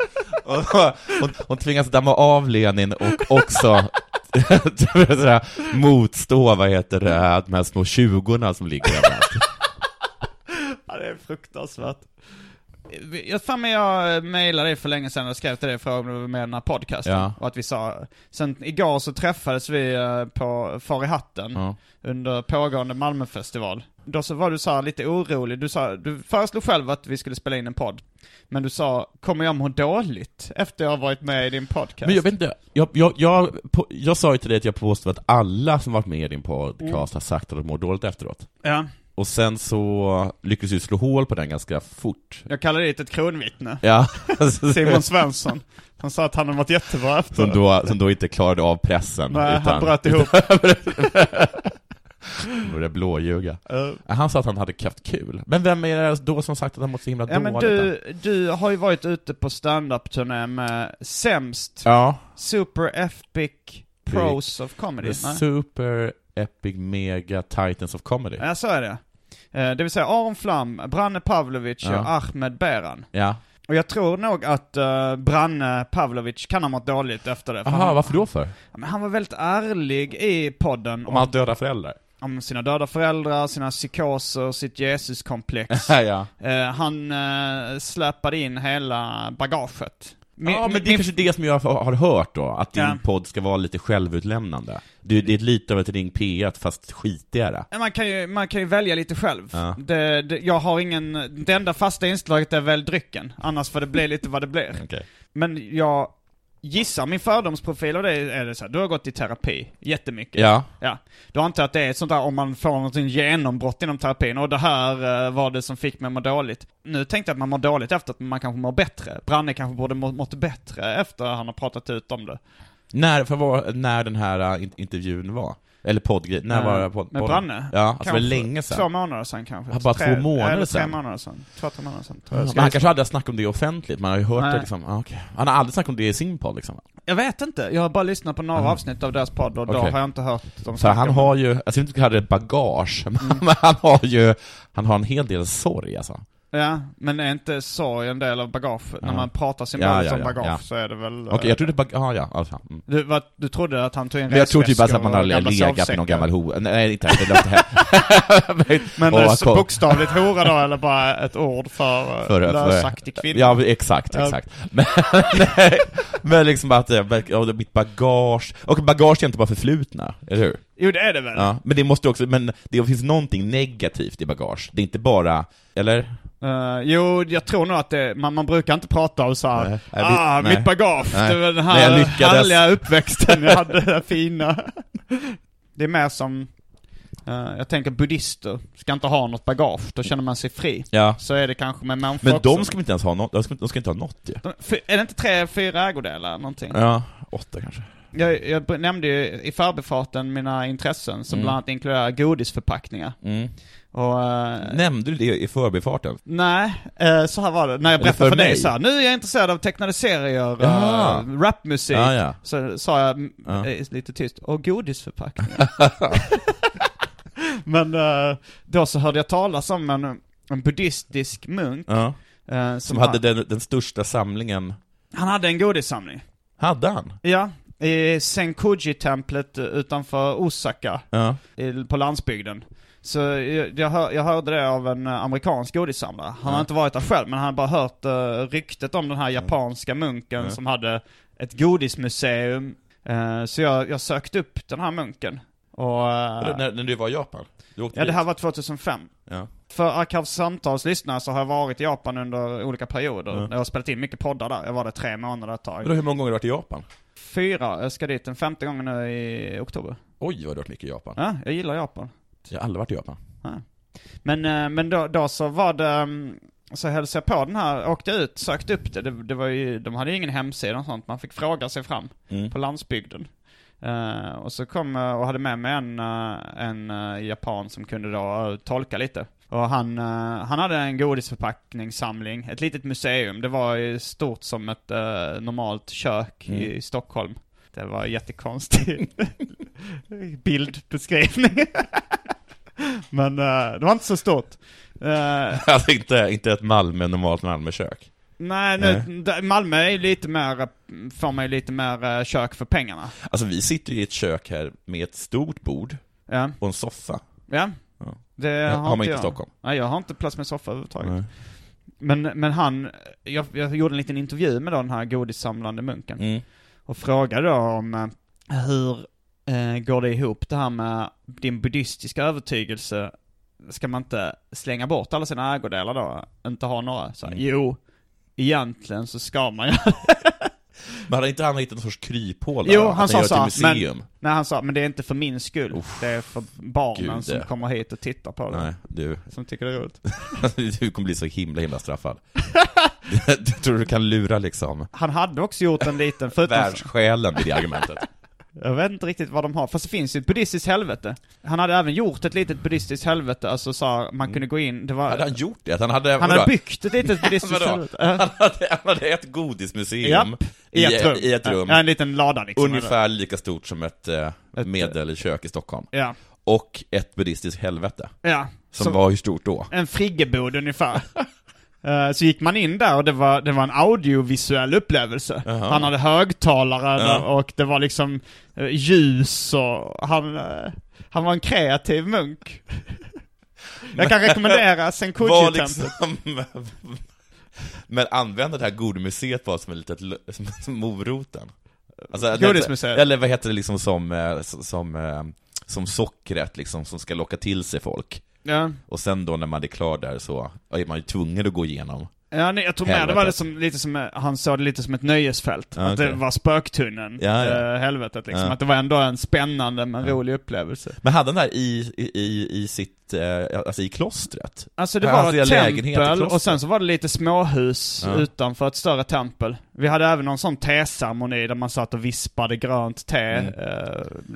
[SPEAKER 2] hon, hon tvingas damma av Lenin och också [LAUGHS] sådär, motstå, vad heter det, de här små tjugorna som ligger överallt.
[SPEAKER 3] Ja, det är fruktansvärt. Jag fan men jag mejlade dig för länge sedan och skrev till dig och frågade om du var med i den här podcasten.
[SPEAKER 2] Ja.
[SPEAKER 3] Och att vi sa, sen igår så träffades vi eh, på Far i hatten
[SPEAKER 2] Ja.
[SPEAKER 3] under pågående Malmöfestival. Då så var du så här lite orolig, du sa, du föreslog själv att vi skulle spela in en podd. Men du sa, kommer jag må dåligt efter jag har varit med i din podcast?
[SPEAKER 2] Men jag vet inte, jag, jag, jag, på, jag sa ju till dig att jag påstår att alla som varit med i din podcast
[SPEAKER 3] Mm.
[SPEAKER 2] har sagt att de mår dåligt efteråt.
[SPEAKER 3] Ja,
[SPEAKER 2] Och sen så lyckades du slå hål på den ganska fort.
[SPEAKER 3] jag kallade dit ett kronvittne.
[SPEAKER 2] Ja,
[SPEAKER 3] [LAUGHS] Simon Svensson. Han sa att han hade mått jättebra efter.
[SPEAKER 2] som, då, som då inte klarade av pressen.
[SPEAKER 3] Nej, han bröt
[SPEAKER 2] [LAUGHS]
[SPEAKER 3] ihop.
[SPEAKER 2] utan började blåljuga.
[SPEAKER 3] Eh,
[SPEAKER 2] Han sa att han hade haft kul. Men vem är det då som sagt att han mått så himla
[SPEAKER 3] Ja men
[SPEAKER 2] dåligt?
[SPEAKER 3] du, du har ju varit ute på standup-turné med Sämst,
[SPEAKER 2] Ja.
[SPEAKER 3] Super Epic Pros of Comedy.
[SPEAKER 2] The
[SPEAKER 3] Nej?
[SPEAKER 2] Super Epic Mega Titans of Comedy.
[SPEAKER 3] Ja, så är det. Eh, Det vill säga Aron Flam, Branne Pavlovic
[SPEAKER 2] Ja.
[SPEAKER 3] och Ahmed Beran.
[SPEAKER 2] Ja.
[SPEAKER 3] Och jag tror nog att eh, Branne Pavlovic kan ha mått dåligt efter det. för
[SPEAKER 2] Aha,
[SPEAKER 3] han,
[SPEAKER 2] varför då för?
[SPEAKER 3] men han var väldigt ärlig i podden
[SPEAKER 2] Om
[SPEAKER 3] om,
[SPEAKER 2] han döda föräldrar?
[SPEAKER 3] om sina döda föräldrar, sina psykoser, sitt
[SPEAKER 2] [LAUGHS]
[SPEAKER 3] Jesuskomplex.
[SPEAKER 2] ja.
[SPEAKER 3] Eh, han eh, släpade in hela bagaget. Min-
[SPEAKER 2] ja, men det är
[SPEAKER 3] min-
[SPEAKER 2] kanske det som jag har hört då, att din
[SPEAKER 3] Ja.
[SPEAKER 2] podd ska vara lite självutlämnande. Det, det är lite av ett Ring P1 fast skitigare.
[SPEAKER 3] Ja, Man kan ju, man kan ju välja lite själv.
[SPEAKER 2] Ja.
[SPEAKER 3] Det, det, jag har ingen, det enda fasta inslaget är väl drycken. Annars får det bli lite vad det
[SPEAKER 2] [LAUGHS]
[SPEAKER 3] blir. Men jag gissar, min fördomsprofil och det är det så här, du har gått i terapi jättemycket.
[SPEAKER 2] Ja.
[SPEAKER 3] Ja. Du antar att det är ett sånt där om man får något genombrott inom terapin och det här eh, var det som fick mig att må dåligt. Nu tänkte jag att man mår dåligt efter att man kanske mår bättre. Branne kanske borde må, mått bättre efter han har pratat ut om det.
[SPEAKER 2] Alltså, När, för var, när den här äh, in- intervjun var? Eller poddgrejen, när var det? Podd,
[SPEAKER 3] Med
[SPEAKER 2] podd-
[SPEAKER 3] Branne?
[SPEAKER 2] Ja, alltså det
[SPEAKER 3] Kanske
[SPEAKER 2] var länge
[SPEAKER 3] Två
[SPEAKER 2] sedan.
[SPEAKER 3] månader sedan kanske.
[SPEAKER 2] Ja, bara två månader
[SPEAKER 3] eller tre
[SPEAKER 2] sedan.
[SPEAKER 3] månader sedan. Två, tre månader sedan. Tror jag.
[SPEAKER 2] Men han
[SPEAKER 3] Ska jag-
[SPEAKER 2] kanske aldrig har snackat om det offentligt, man har ju hört
[SPEAKER 3] Nej.
[SPEAKER 2] det liksom, ah, okej. Han har aldrig snackat om det i sin podd liksom.
[SPEAKER 3] Jag vet inte, jag har bara lyssnat på några avsnitt av deras podd och då
[SPEAKER 2] Mm. Okej.
[SPEAKER 3] har jag inte hört dem
[SPEAKER 2] För
[SPEAKER 3] snacka
[SPEAKER 2] han
[SPEAKER 3] om
[SPEAKER 2] har ju, alltså, jag tror inte han hade bagage, [LAUGHS]
[SPEAKER 3] Mm.
[SPEAKER 2] men han har ju, han har en hel del sorg alltså.
[SPEAKER 3] det. Ja, men är inte sorg en del av bagage? När man pratar sin
[SPEAKER 2] Ja,
[SPEAKER 3] bagage
[SPEAKER 2] ja,
[SPEAKER 3] om
[SPEAKER 2] ja,
[SPEAKER 3] bagage
[SPEAKER 2] ja.
[SPEAKER 3] så är det väl... eh,
[SPEAKER 2] Okej, jag trodde bagage, ah, ja, alltså. mm.
[SPEAKER 3] du, vad, du trodde att han tog in
[SPEAKER 2] Men jag tror typ bara
[SPEAKER 3] resväskor
[SPEAKER 2] att man har
[SPEAKER 3] och gamla
[SPEAKER 2] legat med
[SPEAKER 3] sovsäckar.
[SPEAKER 2] någon gammal ho... Nej, inte det låter hemskt.
[SPEAKER 3] [LAUGHS] Men
[SPEAKER 2] Åh,
[SPEAKER 3] oh,
[SPEAKER 2] vad kom-
[SPEAKER 3] bokstavligt hora då, eller bara ett ord för, eh,
[SPEAKER 2] för- för-
[SPEAKER 3] lösaktig kvinna?
[SPEAKER 2] Ja, exakt,
[SPEAKER 3] Ja.
[SPEAKER 2] exakt. [LAUGHS] Men, nej, men liksom att, eh, verk- ja, mitt bagage, och bagage är inte bara förflutna, eller hur?
[SPEAKER 3] Jo det är det väl?
[SPEAKER 2] Ja, men det måste också, men det finns någonting negativt i bagage. Det är inte bara, eller?
[SPEAKER 3] Eh, jo, jag tror nog att det, man, man brukar inte prata om så här,
[SPEAKER 2] Nej, nej, vi-
[SPEAKER 3] ah,
[SPEAKER 2] nej.
[SPEAKER 3] mitt bagage,
[SPEAKER 2] Nej.
[SPEAKER 3] det var den
[SPEAKER 2] Nej, jag
[SPEAKER 3] här
[SPEAKER 2] lyckades."
[SPEAKER 3] härliga uppväxten jag hade, den här fina. Det är mer som, eh, jag tänker buddister ska inte ha något bagage, då känner man sig fri.
[SPEAKER 2] Ja.
[SPEAKER 3] Så är det kanske med människor
[SPEAKER 2] Men de
[SPEAKER 3] också.
[SPEAKER 2] ska väl inte ens ha något, de ska, de ska inte ha något ju.
[SPEAKER 3] De- för- Är det inte tre, fyra ägodelar eller någonting?
[SPEAKER 2] Ja, åtta kanske.
[SPEAKER 3] Jag, jag br- nämnde ju i förbifarten mina intressen som bland annat inkluderar godisförpackningar.
[SPEAKER 2] Mm.
[SPEAKER 3] Och, eh,
[SPEAKER 2] Nämnde du det i förbifarten?
[SPEAKER 3] Nej, eh, så här var det. När jag berättade
[SPEAKER 2] för
[SPEAKER 3] för, dig
[SPEAKER 2] mig?
[SPEAKER 3] så här, nu är jag intresserad av tecknade serier,
[SPEAKER 2] Jaha.
[SPEAKER 3] eh, rapmusik.
[SPEAKER 2] Ja, ja.
[SPEAKER 3] Så sa jag mm,
[SPEAKER 2] Ja.
[SPEAKER 3] eh, lite tyst, och
[SPEAKER 2] [LAUGHS]
[SPEAKER 3] godisförpackningar. Men eh, då så hörde jag talas om en, en buddhistisk munk.
[SPEAKER 2] Ja.
[SPEAKER 3] eh, som
[SPEAKER 2] Som hade den, den största samlingen,
[SPEAKER 3] Han hade en godissamling.
[SPEAKER 2] hade han?
[SPEAKER 3] Ja, i Senkuji-templet utanför Osaka.
[SPEAKER 2] Ja.
[SPEAKER 3] i- på landsbygden. Så jag, jag, hör, jag hörde det av en eh, amerikansk godissamlare. Han har inte varit där själv, men han har bara hört eh, ryktet om den här japanska munken som hade ett godismuseum. Eh, så jag, jag sökte upp den här munken. Och, eh,
[SPEAKER 2] Eller När, när du var i Japan? Du åkte
[SPEAKER 3] ja, det
[SPEAKER 2] dit.
[SPEAKER 3] här var 2005.
[SPEAKER 2] Ja.
[SPEAKER 3] För Arkivsamtals lyssnare så har jag varit i Japan under olika perioder. Jag har spelat in mycket poddar där. Jag var där tre månader ett tag.
[SPEAKER 2] Vadå, hur många gånger har du varit i Japan?
[SPEAKER 3] Fyra, jag ska dit den femte gången nu i oktober.
[SPEAKER 2] Oj, vad du har varit mycket i Japan.
[SPEAKER 3] Ja, jag gillar Japan.
[SPEAKER 2] Jag har aldrig varit i Japan.
[SPEAKER 3] Men, eh, men då, då så var det, mm, så hälsade jag på den här, åkte ut, sökte upp det. det, det var ju, de hade ju ingen hemsida och sånt, man fick fråga sig fram på landsbygden. Eh, och så kom jag och hade med mig en, eh, en eh, japan som kunde då eh, tolka lite. Och han, eh, han hade en godisförpackningssamling, ett litet museum. Det var ju stort som ett eh, normalt kök i Stockholm. Det var en jättekonstig [LAUGHS] bildbeskrivning. Men eh, det var inte så stort. Eh,
[SPEAKER 2] Alltså inte, inte ett Malmö, normalt Malmökök.
[SPEAKER 3] nej, nu, där- Malmö är ju lite mer, eh, får man ju lite mer eh, kök för pengarna.
[SPEAKER 2] Alltså vi sitter ju i ett kök här med ett stort bord
[SPEAKER 3] Ja,
[SPEAKER 2] och en soffa.
[SPEAKER 3] ja.
[SPEAKER 2] Ja.
[SPEAKER 3] Det har,
[SPEAKER 2] har man inte i
[SPEAKER 3] jag.
[SPEAKER 2] Stockholm.
[SPEAKER 3] Nej, jag har inte plats med soffa överhuvudtaget.
[SPEAKER 2] Nej.
[SPEAKER 3] Men, men han, jag, jag gjorde en liten intervju med då den här godissamlande munken.
[SPEAKER 2] Mm.
[SPEAKER 3] Och frågade då om eh, hur eh, går det ihop det här med din buddhistiska övertygelse? Ska man inte slänga bort alla sina ägodelar då? Inte ha några? Så, här,
[SPEAKER 2] Mm.
[SPEAKER 3] Jo, egentligen så ska man ju [LAUGHS]
[SPEAKER 2] Men hade inte han hittat någon sorts kryphål där?
[SPEAKER 3] Jo,
[SPEAKER 2] Att
[SPEAKER 3] han
[SPEAKER 2] gör
[SPEAKER 3] sa
[SPEAKER 2] ett
[SPEAKER 3] så här,
[SPEAKER 2] museum?
[SPEAKER 3] men, nej, han sa, men det är inte för min skull. det är för barnen
[SPEAKER 2] gud,
[SPEAKER 3] som
[SPEAKER 2] det.
[SPEAKER 3] kommer hit och tittar på det.
[SPEAKER 2] Nej, du. [LAUGHS]
[SPEAKER 3] Som tycker det är roligt.
[SPEAKER 2] Du kommer bli så himla,
[SPEAKER 3] [LAUGHS]
[SPEAKER 2] himla straffad. du tror du kan lura liksom
[SPEAKER 3] Han hade också gjort en
[SPEAKER 2] [LAUGHS]
[SPEAKER 3] liten, förutom,
[SPEAKER 2] världssjälen vid det argumentet.
[SPEAKER 3] jag vet inte riktigt vad de har, fast det finns ju ett buddhistiskt helvete. Han hade även gjort ett litet buddhistiskt helvete, alltså så här, man kunde gå in, det var...
[SPEAKER 2] Hade han gjort Mm. det? Att han hade...
[SPEAKER 3] han
[SPEAKER 2] vadå?
[SPEAKER 3] hade byggt ett
[SPEAKER 2] [LAUGHS]
[SPEAKER 3] litet buddhistiskt
[SPEAKER 2] Vadå?
[SPEAKER 3] helvete. Eh,
[SPEAKER 2] Han hade, han hade ett godismuseum
[SPEAKER 3] Japp, i ett rum.
[SPEAKER 2] I ett rum
[SPEAKER 3] Ja, en liten lada liksom.
[SPEAKER 2] ungefär lika stort som ett, eh, medelkök i Stockholm.
[SPEAKER 3] Ja.
[SPEAKER 2] Och ett buddhistiskt helvete.
[SPEAKER 3] Ja.
[SPEAKER 2] Som,
[SPEAKER 3] Som-
[SPEAKER 2] var hur stort då?
[SPEAKER 3] en friggebod
[SPEAKER 2] [LAUGHS]
[SPEAKER 3] ungefär. Eh, Så gick man in där och det var, det var en audiovisuell upplevelse. Han hade högtalare där och det var liksom eh, ljus och han, eh, han var en kreativ
[SPEAKER 2] [LAUGHS]
[SPEAKER 3] munk. Jag kan rekommendera
[SPEAKER 2] Var
[SPEAKER 3] Senkuji-templet.
[SPEAKER 2] liksom... [LAUGHS] Men använda det här godmuseet bara som en litet, l- som, som moroten. Alltså,
[SPEAKER 3] Godismuseet.
[SPEAKER 2] det- Eller vad heter det liksom som, eh, s- som, eh, som sockret liksom, som ska locka till sig folk.
[SPEAKER 3] Ja.
[SPEAKER 2] Och sen då när man är klar där så är man ju tvungen att gå igenom.
[SPEAKER 3] Ja, nej, jag tror med det var
[SPEAKER 2] Helvetet.
[SPEAKER 3] liksom, lite som, eh, han såg det lite som ett nöjesfält.
[SPEAKER 2] Ja,
[SPEAKER 3] Att det
[SPEAKER 2] okej.
[SPEAKER 3] var spöktunneln,
[SPEAKER 2] Ja, ja.
[SPEAKER 3] eh, helvetet liksom.
[SPEAKER 2] Ja.
[SPEAKER 3] Att det var ändå en spännande men rolig upplevelse.
[SPEAKER 2] Men hade han det här i, i, i, i sitt, eh, alltså i klostret?
[SPEAKER 3] Alltså det
[SPEAKER 2] Här
[SPEAKER 3] var
[SPEAKER 2] hade
[SPEAKER 3] ett
[SPEAKER 2] jag lägenhet i
[SPEAKER 3] tempel
[SPEAKER 2] klostret.
[SPEAKER 3] och sen så var det lite småhus utanför ett större tempel. Vi hade även någon sån teceremoni där man satt och vispade grönt te
[SPEAKER 2] Mm.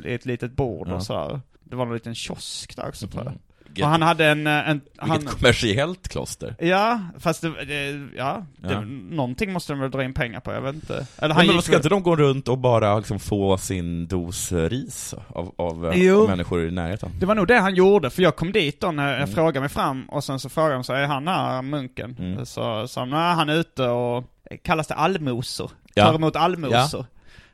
[SPEAKER 3] eh, i ett litet bord och sådär. Det var en liten kiosk där också tror jag.
[SPEAKER 2] Vilket,
[SPEAKER 3] Och han hade en... eh, en han,
[SPEAKER 2] Mm-hmm. vilket kommersiellt kloster.
[SPEAKER 3] ja, fast det, det ja, det,
[SPEAKER 2] Ja.
[SPEAKER 3] någonting måste de väl dra in pengar på, jag vet inte. Eller
[SPEAKER 2] Ja,
[SPEAKER 3] han
[SPEAKER 2] men
[SPEAKER 3] gick
[SPEAKER 2] ska
[SPEAKER 3] väl-
[SPEAKER 2] inte de gå runt och bara liksom få sin dos ris av, av eh,
[SPEAKER 3] Jo.
[SPEAKER 2] människor i närheten?
[SPEAKER 3] Det var nog det han gjorde, för jag kom dit då när jag
[SPEAKER 2] Mm.
[SPEAKER 3] frågade mig fram och sen så frågade de så är han här, munken?
[SPEAKER 2] Mm.
[SPEAKER 3] Så sa de, nej han är ute och kallas det allmosor,
[SPEAKER 2] Ja.
[SPEAKER 3] tar emot allmosor.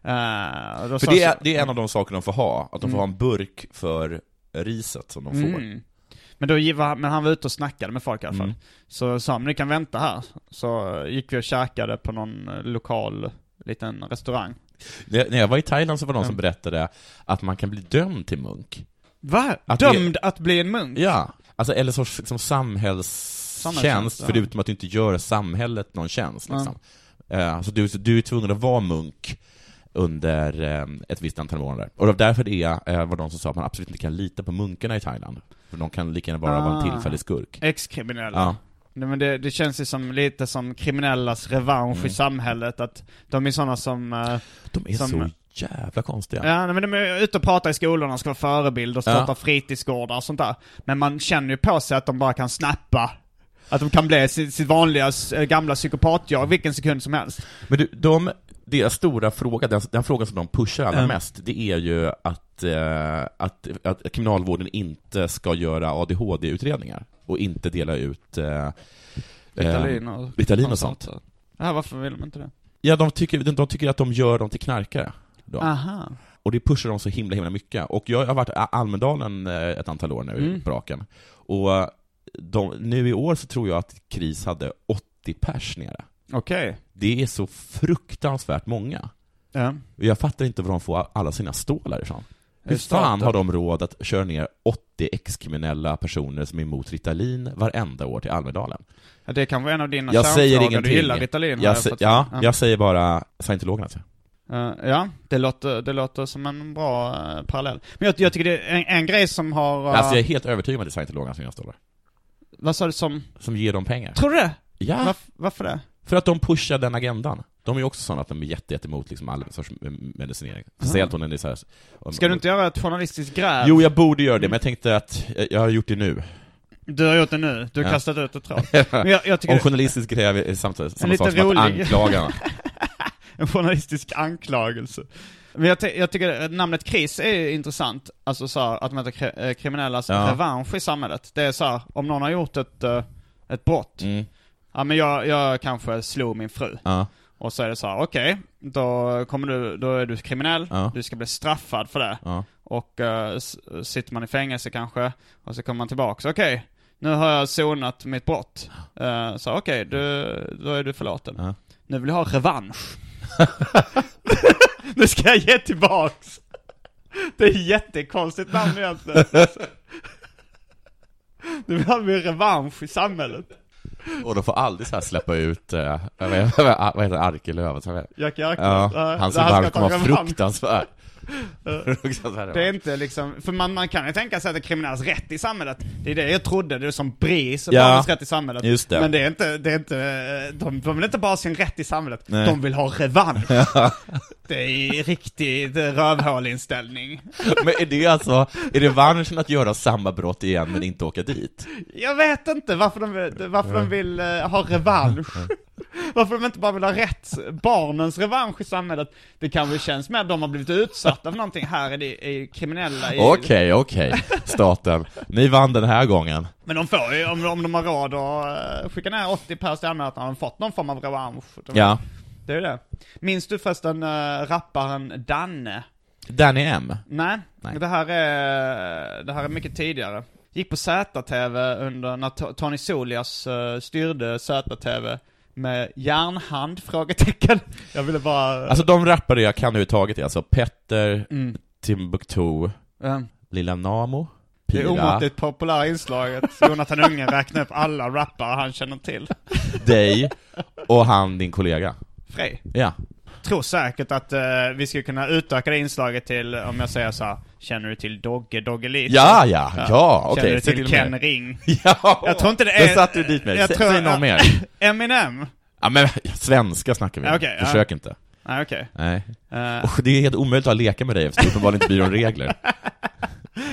[SPEAKER 3] Eh, och då
[SPEAKER 2] För
[SPEAKER 3] sa
[SPEAKER 2] det
[SPEAKER 3] jag
[SPEAKER 2] är,
[SPEAKER 3] så-
[SPEAKER 2] det är en av de saker de får ha, att de får ha en burk för riset som de får.
[SPEAKER 3] Mm. Men, då, giv- men han var ute och snackade med folk i alla fall.
[SPEAKER 2] Mm.
[SPEAKER 3] Så sa han, ni kan vänta här. Så gick vi och käkade på någon eh, lokal liten restaurang.
[SPEAKER 2] Det- När jag var i Thailand så var det någon som berättade att man kan bli dömd till munk.
[SPEAKER 3] Va?
[SPEAKER 2] Att det-
[SPEAKER 3] Dömd att bli en munk?
[SPEAKER 2] Ja. Alltså, eller sorts liksom, samhällstjänst,
[SPEAKER 3] Samhällstjänst, ja.
[SPEAKER 2] förutom att du inte gör samhället någon tjänst. Liksom. Eh, så du, så du är tvungen att vara munk under eh, ett visst antal månader. Och det var därför det är, eh, var de som sa att man absolut inte kan lita på munkarna i Thailand. För de kan lika gärna bara vara en
[SPEAKER 3] Ah.
[SPEAKER 2] tillfällig skurk.
[SPEAKER 3] Ex-kriminella.
[SPEAKER 2] Ja.
[SPEAKER 3] Nej, men det, det känns ju som lite som kriminellas revansch
[SPEAKER 2] Mm.
[SPEAKER 3] i samhället, att de är sådana som... eh,
[SPEAKER 2] De är
[SPEAKER 3] Som-
[SPEAKER 2] så jävla konstiga.
[SPEAKER 3] ja, nej, men de är ute och pratar i skolorna, ska vara förebilder,
[SPEAKER 2] Ja.
[SPEAKER 3] starta fritidsgårdar och sånt där. Men man känner ju på sig att de bara kan snappa. Att de kan bli sitt, sitt vanliga eh, gamla psykopatjag vilken sekund som helst.
[SPEAKER 2] Men du, de, deras stora fråga, den, den frågan som de pushar allra mest, det är ju att, eh, att, att kriminalvården inte ska göra ADHD-utredningar och inte dela ut eh, eh,
[SPEAKER 3] Ritalin och,
[SPEAKER 2] Ritalin och sånt.
[SPEAKER 3] Ja, varför vill de inte det?
[SPEAKER 2] Ja, de tycker, de, de tycker att de gör dem till knarkare. Då.
[SPEAKER 3] Aha.
[SPEAKER 2] Och det pushar de så himla, himla mycket. Och jag har varit i Almedalen eh, ett antal år nu, i braken. Och eh, de, nu i år så tror jag att KRIS hade 80 pers nere.
[SPEAKER 3] Okej.
[SPEAKER 2] Det är så fruktansvärt många.
[SPEAKER 3] Ja.
[SPEAKER 2] Och Jag fattar inte var de får alla sina stålar ifrån.
[SPEAKER 3] Det
[SPEAKER 2] Hur
[SPEAKER 3] är
[SPEAKER 2] fan
[SPEAKER 3] staten.
[SPEAKER 2] har de råd att köra ner 80 ex-kriminella personer som är emot Ritalin varenda år till Almedalen?
[SPEAKER 3] Ja, Det kan vara en av dina
[SPEAKER 2] Jag säger
[SPEAKER 3] kärnfrågor.
[SPEAKER 2] ingenting.
[SPEAKER 3] Du gillar Ritalin har
[SPEAKER 2] jag
[SPEAKER 3] jag
[SPEAKER 2] sä-
[SPEAKER 3] fått-
[SPEAKER 2] ja, jag säger bara scientologerna. Alltså, så.
[SPEAKER 3] Eh, ja, det låter, det låter som en bra eh, parallell. Men jag, jag tycker det är en, en grej som har... eh,
[SPEAKER 2] Alltså jag är helt övertygad om att det är scientologerna som gör stålar.
[SPEAKER 3] Vad sa du som...
[SPEAKER 2] Som ger dem pengar.
[SPEAKER 3] Tror du det? Ah.
[SPEAKER 2] Ja,
[SPEAKER 3] Varf, varför det?
[SPEAKER 2] för att de pushar den agendan. De är ju också sådana att de är jätte, jätte emot liksom all sorts eh, medicinering. Speciellt om den är så här, om,
[SPEAKER 3] Ska du inte göra ett journalistiskt gräv?
[SPEAKER 2] Jo, jag borde göra det, men jag tänkte att jag- jag har
[SPEAKER 3] [LAUGHS]
[SPEAKER 2] gjort det nu.
[SPEAKER 3] Du har gjort det nu, du har
[SPEAKER 2] Ja.
[SPEAKER 3] kastat ut ett troll.
[SPEAKER 2] [LAUGHS]
[SPEAKER 3] Men jag, jag tycker
[SPEAKER 2] Om
[SPEAKER 3] det
[SPEAKER 2] journalistiskt gräv är samma, samma
[SPEAKER 3] lite
[SPEAKER 2] sak som att
[SPEAKER 3] rolig.
[SPEAKER 2] anklagarna.
[SPEAKER 3] är en journalistisk anklagelse. Men jag, ty- jag tycker eh, namnet kris är intressant, alltså så här, att man heter kri- eh, kriminellas
[SPEAKER 2] Ja.
[SPEAKER 3] revansch i samhället. Det är så här, om någon har gjort ett, eh, ett brott,
[SPEAKER 2] Mm,
[SPEAKER 3] ja men jag, jag kanske slog min fru.
[SPEAKER 2] ja.
[SPEAKER 3] Och så är det så här, okej, då kommer du, då är du kriminell,
[SPEAKER 2] Ja.
[SPEAKER 3] du ska bli straffad för det.
[SPEAKER 2] Ja.
[SPEAKER 3] Och eh, s- sitter man i fängelse kanske, och så kommer man tillbaka, okej, nu har jag sonat mitt brott. Eh, så okej, du, då är du förlåten.
[SPEAKER 2] Ja.
[SPEAKER 3] Nu vill jag ha revansch. [LAUGHS] nu ska jag ge tillbaks! Det är jättekonstigt namn egentligen. Nu vill ha revansch i samhället.
[SPEAKER 2] Och de får aldrig så här släppa ut, eh, vad heter [LAUGHS] vad heter Arkelöv? Så här.
[SPEAKER 3] Jack Arklund.
[SPEAKER 2] Ja, hans revansch kommer vara fruktansvärd. [LAUGHS]
[SPEAKER 3] Det är inte liksom, för man, man kan ju tänka sig att det är kriminellas rätt i samhället. Det är det jag trodde, det är som BRIS,
[SPEAKER 2] Ja,
[SPEAKER 3] barnens rätt i samhället.
[SPEAKER 2] just det.
[SPEAKER 3] Men det är inte, det är inte, eh, de, de vill inte bara ha sin rätt i samhället,
[SPEAKER 2] Nej.
[SPEAKER 3] de vill ha revansch. [LAUGHS] Det är riktigt rövhålinställning.
[SPEAKER 2] Men är det alltså, är det revanschen att göra samma brott igen men inte åka dit?
[SPEAKER 3] Jag vet inte varför de, vill- varför de vill eh, ha
[SPEAKER 2] [LAUGHS]
[SPEAKER 3] revansch. Varför de inte bara vill ha rätt, barnens revansch i samhället. Det kanske känns med att de har blivit utsatta för någonting, här är det är kriminella i,
[SPEAKER 2] Okej, okej, staten. Ni vann den här gången.
[SPEAKER 3] Men de får ju, om, om de har råd att eh, skicka ner 80 pers till allmänheten, har de fått någon form av revansch? De-
[SPEAKER 2] Ja.
[SPEAKER 3] Det är ju det. Minns du förresten äh, rapparen Danne?
[SPEAKER 2] Danny M.
[SPEAKER 3] Nej,
[SPEAKER 2] Nej.
[SPEAKER 3] Det, här är, det här är mycket tidigare. Gick på ZTV under, när To- Tony Solias eh, styrde ZTV med järnhand? Frågetecken. Jag ville bara...
[SPEAKER 2] Alltså de rappare jag kan överhuvudtaget är alltså Petter,
[SPEAKER 3] Mm.
[SPEAKER 2] Timbuktu,
[SPEAKER 3] eh,
[SPEAKER 2] Lilla Namo,
[SPEAKER 3] det
[SPEAKER 2] Pira,
[SPEAKER 3] omåttligt populära inslaget. Jonathan Unge räknar upp alla rappare han känner till.
[SPEAKER 2] dig och han din kollega.
[SPEAKER 3] Frej.
[SPEAKER 2] Ja.
[SPEAKER 3] tror säkert att eh, vi skulle kunna utöka det inslaget till, om jag säger så här, känner du till Dogge Doggelito?
[SPEAKER 2] Ja, ja, ja, okej.
[SPEAKER 3] Känner du
[SPEAKER 2] säg
[SPEAKER 3] till
[SPEAKER 2] mer.
[SPEAKER 3] Ken Ring?
[SPEAKER 2] [LAUGHS] Ja,
[SPEAKER 3] Jag tror inte det
[SPEAKER 2] Då
[SPEAKER 3] är...
[SPEAKER 2] satte du dit mig.
[SPEAKER 3] Jag
[SPEAKER 2] Sä-
[SPEAKER 3] tror-
[SPEAKER 2] Säg någon mer.
[SPEAKER 3] Eminem?
[SPEAKER 2] Ja men svenska snackar vi om.
[SPEAKER 3] Okej, ja.
[SPEAKER 2] Försök inte.
[SPEAKER 3] Nej, okej.
[SPEAKER 2] Nej.
[SPEAKER 3] Eh,
[SPEAKER 2] Och det är helt omöjligt att leka med dig eftersom du uppenbarligen inte bryr dig
[SPEAKER 3] [LAUGHS]
[SPEAKER 2] om regler.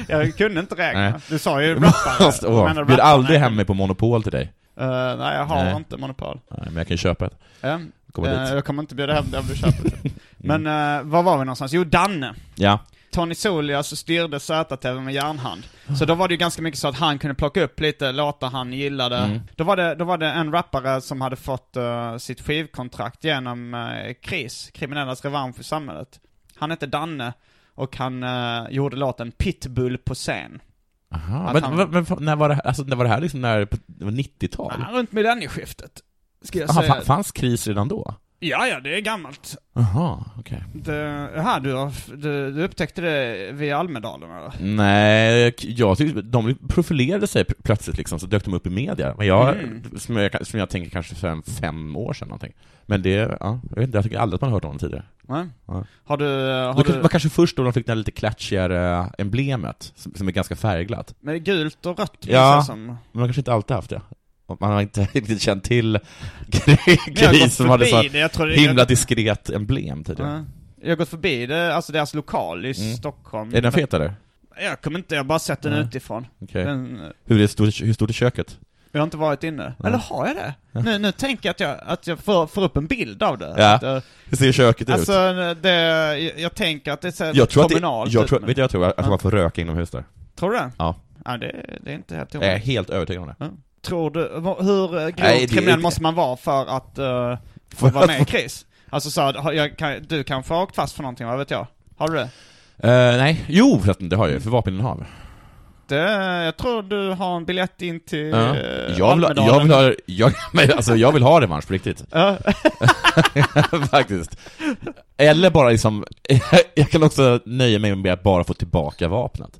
[SPEAKER 3] jag kunde inte
[SPEAKER 2] Nej.
[SPEAKER 3] räkna. Du sa
[SPEAKER 2] [LAUGHS]
[SPEAKER 3] ju rappare.
[SPEAKER 2] Fast, åh,
[SPEAKER 3] Men
[SPEAKER 2] blir
[SPEAKER 3] rappare-
[SPEAKER 2] aldrig hem med på monopol till dig.
[SPEAKER 3] Eh, nej, jag har
[SPEAKER 2] Nej.
[SPEAKER 3] inte monopol.
[SPEAKER 2] Nej, men jag kan ju köpa ett.
[SPEAKER 3] Eh,
[SPEAKER 2] Komma
[SPEAKER 3] eh,
[SPEAKER 2] dit. Mm.
[SPEAKER 3] jag kommer inte bjuda hem det om du köper
[SPEAKER 2] [LAUGHS]
[SPEAKER 3] det. Men eh, var var vi någonstans? Jo, Danne.
[SPEAKER 2] Ja.
[SPEAKER 3] Tony Solias styrde ZTV med järnhand. Så då var det ju ganska mycket så att han kunde plocka upp lite låtar han gillade.
[SPEAKER 2] Mm.
[SPEAKER 3] Då, var det, då var det en rappare som hade fått eh, sitt skivkontrakt genom eh, KRIS, Kriminellas Revansch i Samhället. Han hette Danne och han eh, gjorde låten Pitbull på scen.
[SPEAKER 2] Aha.
[SPEAKER 3] Att
[SPEAKER 2] Men,
[SPEAKER 3] han-
[SPEAKER 2] men, men när var det här, alltså, när var det här liksom när, på- det var 90-tal?
[SPEAKER 3] Ja, runt millennieskiftet, ska jag
[SPEAKER 2] Aha,
[SPEAKER 3] säga.
[SPEAKER 2] fa- fanns kris redan då?
[SPEAKER 3] Ja, ja, det är gammalt.
[SPEAKER 2] Jaha, okej.
[SPEAKER 3] Det, aha, du, har- du, du upptäckte det vid Almedalen eller?
[SPEAKER 2] Nej, jag tyckte, de profilerade sig pl- plötsligt liksom, så dök de upp i media. Men jag,
[SPEAKER 3] Mm.
[SPEAKER 2] som, jag, som jag tänker kanske för en fem år sedan någonting. Men det, ja, jag vet inte, jag tycker aldrig att man har hört om dem tidigare.
[SPEAKER 3] Nej.
[SPEAKER 2] Ja.
[SPEAKER 3] Har du, eh, har
[SPEAKER 2] Det var
[SPEAKER 3] du,
[SPEAKER 2] kanske först då de fick det här lite klatschigare emblemet, som, som är ganska färgglatt.
[SPEAKER 3] med gult och rött
[SPEAKER 2] Ja.
[SPEAKER 3] minns jag som.
[SPEAKER 2] Men man kanske inte alltid haft det. Och Man har inte [LAUGHS] riktigt känt till
[SPEAKER 3] Jag har gått
[SPEAKER 2] gris som hade så
[SPEAKER 3] förbi det, jag tror det-
[SPEAKER 2] himla diskret emblem
[SPEAKER 3] jag,
[SPEAKER 2] tidigare.
[SPEAKER 3] Ja. jag har gått förbi det, alltså deras lokal i Stockholm.
[SPEAKER 2] Mm. Är den fet eller?
[SPEAKER 3] Jag kommer inte, jag har bara sett den utifrån.
[SPEAKER 2] Okej.
[SPEAKER 3] Den,
[SPEAKER 2] Hur, är stort, hur stort är köket?
[SPEAKER 3] jag har inte varit inne. Eller har jag det? Nu, nu tänker jag att jag, att jag får, får upp en bild av det.
[SPEAKER 2] Ja.
[SPEAKER 3] Att, eh,
[SPEAKER 2] Hur ser köket
[SPEAKER 3] alltså,
[SPEAKER 2] ut?
[SPEAKER 3] det, jag, jag tänker att det ser
[SPEAKER 2] Jag tror att det,
[SPEAKER 3] kommunalt typ,
[SPEAKER 2] jag
[SPEAKER 3] ut
[SPEAKER 2] tror,
[SPEAKER 3] nu.
[SPEAKER 2] vet du vad jag tror? Jag tror
[SPEAKER 3] Ja.
[SPEAKER 2] man får röka inomhus där.
[SPEAKER 3] Tror du det?
[SPEAKER 2] Ja.
[SPEAKER 3] Ja, det, det är inte helt
[SPEAKER 2] Jag är
[SPEAKER 3] omöjligt.
[SPEAKER 2] helt övertygad om det.
[SPEAKER 3] Tror du, vad- hur eh,
[SPEAKER 2] Nej, det
[SPEAKER 3] grovt
[SPEAKER 2] är
[SPEAKER 3] kriminell
[SPEAKER 2] inte-
[SPEAKER 3] måste man vara för att eh, få vara med i KRIS? Alltså så, här, har jag, kan, du kanske har åkt fast för någonting, vad vet jag? Har du det?
[SPEAKER 2] Eh, nej, jo förresten, det har jag ju, för vapeninnehav.
[SPEAKER 3] det? Jag tror du har en biljett in till
[SPEAKER 2] Ja.
[SPEAKER 3] eh,
[SPEAKER 2] Jag vill, ha- jag vill
[SPEAKER 3] Almedalen.
[SPEAKER 2] ha, jag, [LAUGHS] men alltså, jag vill ha revansch på riktigt. [LAUGHS] Faktiskt. Eller bara liksom, [LAUGHS] jag kan också nöja mig med att bara få tillbaka vapnet.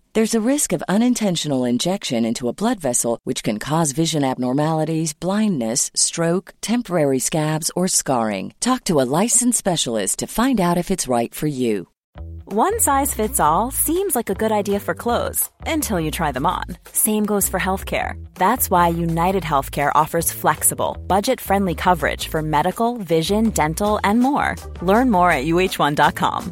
[SPEAKER 4] There's a risk of unintentional injection into a blood vessel, which can cause vision abnormalities, blindness, stroke, temporary scabs, or scarring. Talk to a licensed specialist to find out if it's right for you.
[SPEAKER 5] One size fits all seems like a good idea for clothes until you try them on. Same goes for healthcare. That's why United Healthcare offers flexible, budget friendly coverage for medical, vision, dental, and more. Learn more at uh1.com.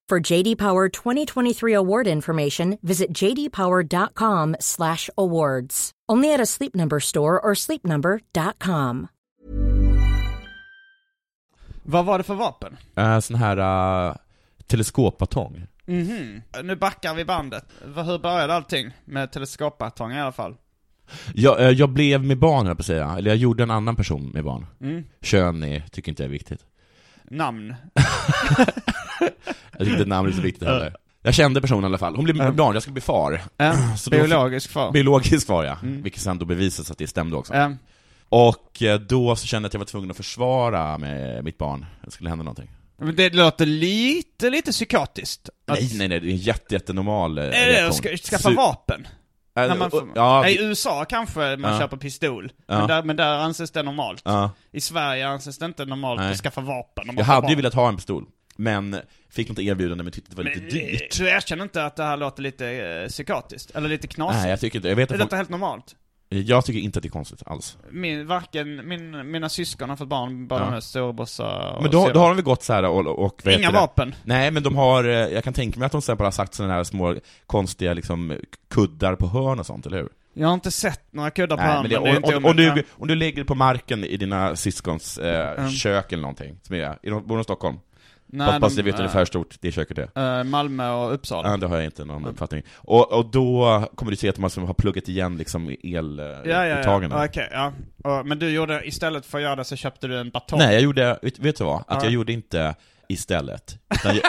[SPEAKER 6] For JD Power 2023 award information, visit jdpower.com/awards. Only at a Sleep Number store or sleepnumber.com.
[SPEAKER 3] Vad var det för vapen?
[SPEAKER 2] Eh, sån här uh, teleskopbatong.
[SPEAKER 3] Mhm. Nu backar vi bandet. Vad- Hur började allting? Med teleskopbatong i alla fall.
[SPEAKER 2] Jag, eh, jag blev med barn, höll jag på att säga. Eller jag gjorde en annan person med barn. Kön är, tycker inte jag är viktigt.
[SPEAKER 3] Mm. Namn.
[SPEAKER 2] Jag tycker inte namnet är så viktigt heller. Jag kände personen i alla fall. Hon blev med barn, jag skulle bli far. [CLEARS THROAT]
[SPEAKER 3] En
[SPEAKER 2] Så då-
[SPEAKER 3] biologisk far.
[SPEAKER 2] Biologisk var jag,
[SPEAKER 3] Mm.
[SPEAKER 2] vilket sen då bevisades att det stämde också.
[SPEAKER 3] En
[SPEAKER 2] Och eh, då så kände jag att jag var tvungen att försvara med mitt barn. Det skulle hända någonting.
[SPEAKER 3] Men det låter lite, lite psykotiskt. Att,
[SPEAKER 2] Nej, nej, nej, det är en jätte, jättenormal eh,
[SPEAKER 3] Är det
[SPEAKER 2] reaktion.
[SPEAKER 3] att ska, skaffa
[SPEAKER 2] Su-
[SPEAKER 3] vapen?
[SPEAKER 2] Äh,
[SPEAKER 3] När man
[SPEAKER 2] och-
[SPEAKER 3] får,
[SPEAKER 2] ja,
[SPEAKER 3] nej, I
[SPEAKER 2] vi-
[SPEAKER 3] USA kanske man
[SPEAKER 2] Ja.
[SPEAKER 3] köper pistol,
[SPEAKER 2] Ja.
[SPEAKER 3] men, där, men där anses det normalt.
[SPEAKER 2] ja.
[SPEAKER 3] I Sverige anses det inte normalt
[SPEAKER 2] Nej.
[SPEAKER 3] att skaffa vapen. om man
[SPEAKER 2] Jag
[SPEAKER 3] får
[SPEAKER 2] hade ju
[SPEAKER 3] barn.
[SPEAKER 2] velat ha en pistol, men fick något erbjudande men tyckte det var lite
[SPEAKER 3] Men, eh,
[SPEAKER 2] dyrt.
[SPEAKER 3] Du erkänner inte att det här låter lite eh, psykotiskt? Eller lite knasigt?
[SPEAKER 2] Nej, jag tycker inte, jag vet
[SPEAKER 3] är
[SPEAKER 2] att
[SPEAKER 3] detta
[SPEAKER 2] folk,
[SPEAKER 3] helt normalt?
[SPEAKER 2] jag tycker inte att det är konstigt alls.
[SPEAKER 3] Min, varken, min, mina syskon har fått barn, bara
[SPEAKER 2] Ja.
[SPEAKER 3] ja. storebrorsa och
[SPEAKER 2] Men då,
[SPEAKER 3] syrra.
[SPEAKER 2] då har de väl gått så här och, och vad heter
[SPEAKER 3] Inga
[SPEAKER 2] det?
[SPEAKER 3] vapen.
[SPEAKER 2] Nej, men de har, eh, jag kan tänka mig att de sen bara har sagt sådana här små konstiga liksom kuddar på hörn och sånt, eller hur?
[SPEAKER 3] Jag har inte sett några kuddar på
[SPEAKER 2] Nej,
[SPEAKER 3] handen,
[SPEAKER 2] men
[SPEAKER 3] det,
[SPEAKER 2] det,
[SPEAKER 3] är inte
[SPEAKER 2] om, om, om,
[SPEAKER 3] omöjligt.
[SPEAKER 2] du, om du ligger på marken i dina syskons eh, kök eller någonting, som är, är de- bor de i Stockholm?
[SPEAKER 3] Mm. Nej,
[SPEAKER 2] Hoppas
[SPEAKER 3] de-
[SPEAKER 2] det vet
[SPEAKER 3] eh,
[SPEAKER 2] ungefär hur stort det köket är.
[SPEAKER 3] eh, Malmö och Uppsala.
[SPEAKER 2] Ja, det har jag inte
[SPEAKER 3] Mm.
[SPEAKER 2] någon uppfattning. Och, och då kommer du se att man som har pluggat igen liksom
[SPEAKER 3] Ja, ja, ja.
[SPEAKER 2] eluttagen.
[SPEAKER 3] Okej, ja. Och- Men du gjorde, istället för att göra det så köpte du en batong.
[SPEAKER 2] Nej, jag gjorde, vet, vet du vad? Att
[SPEAKER 3] Ja. [LAUGHS]
[SPEAKER 2] jag gjorde inte istället. Utan jag...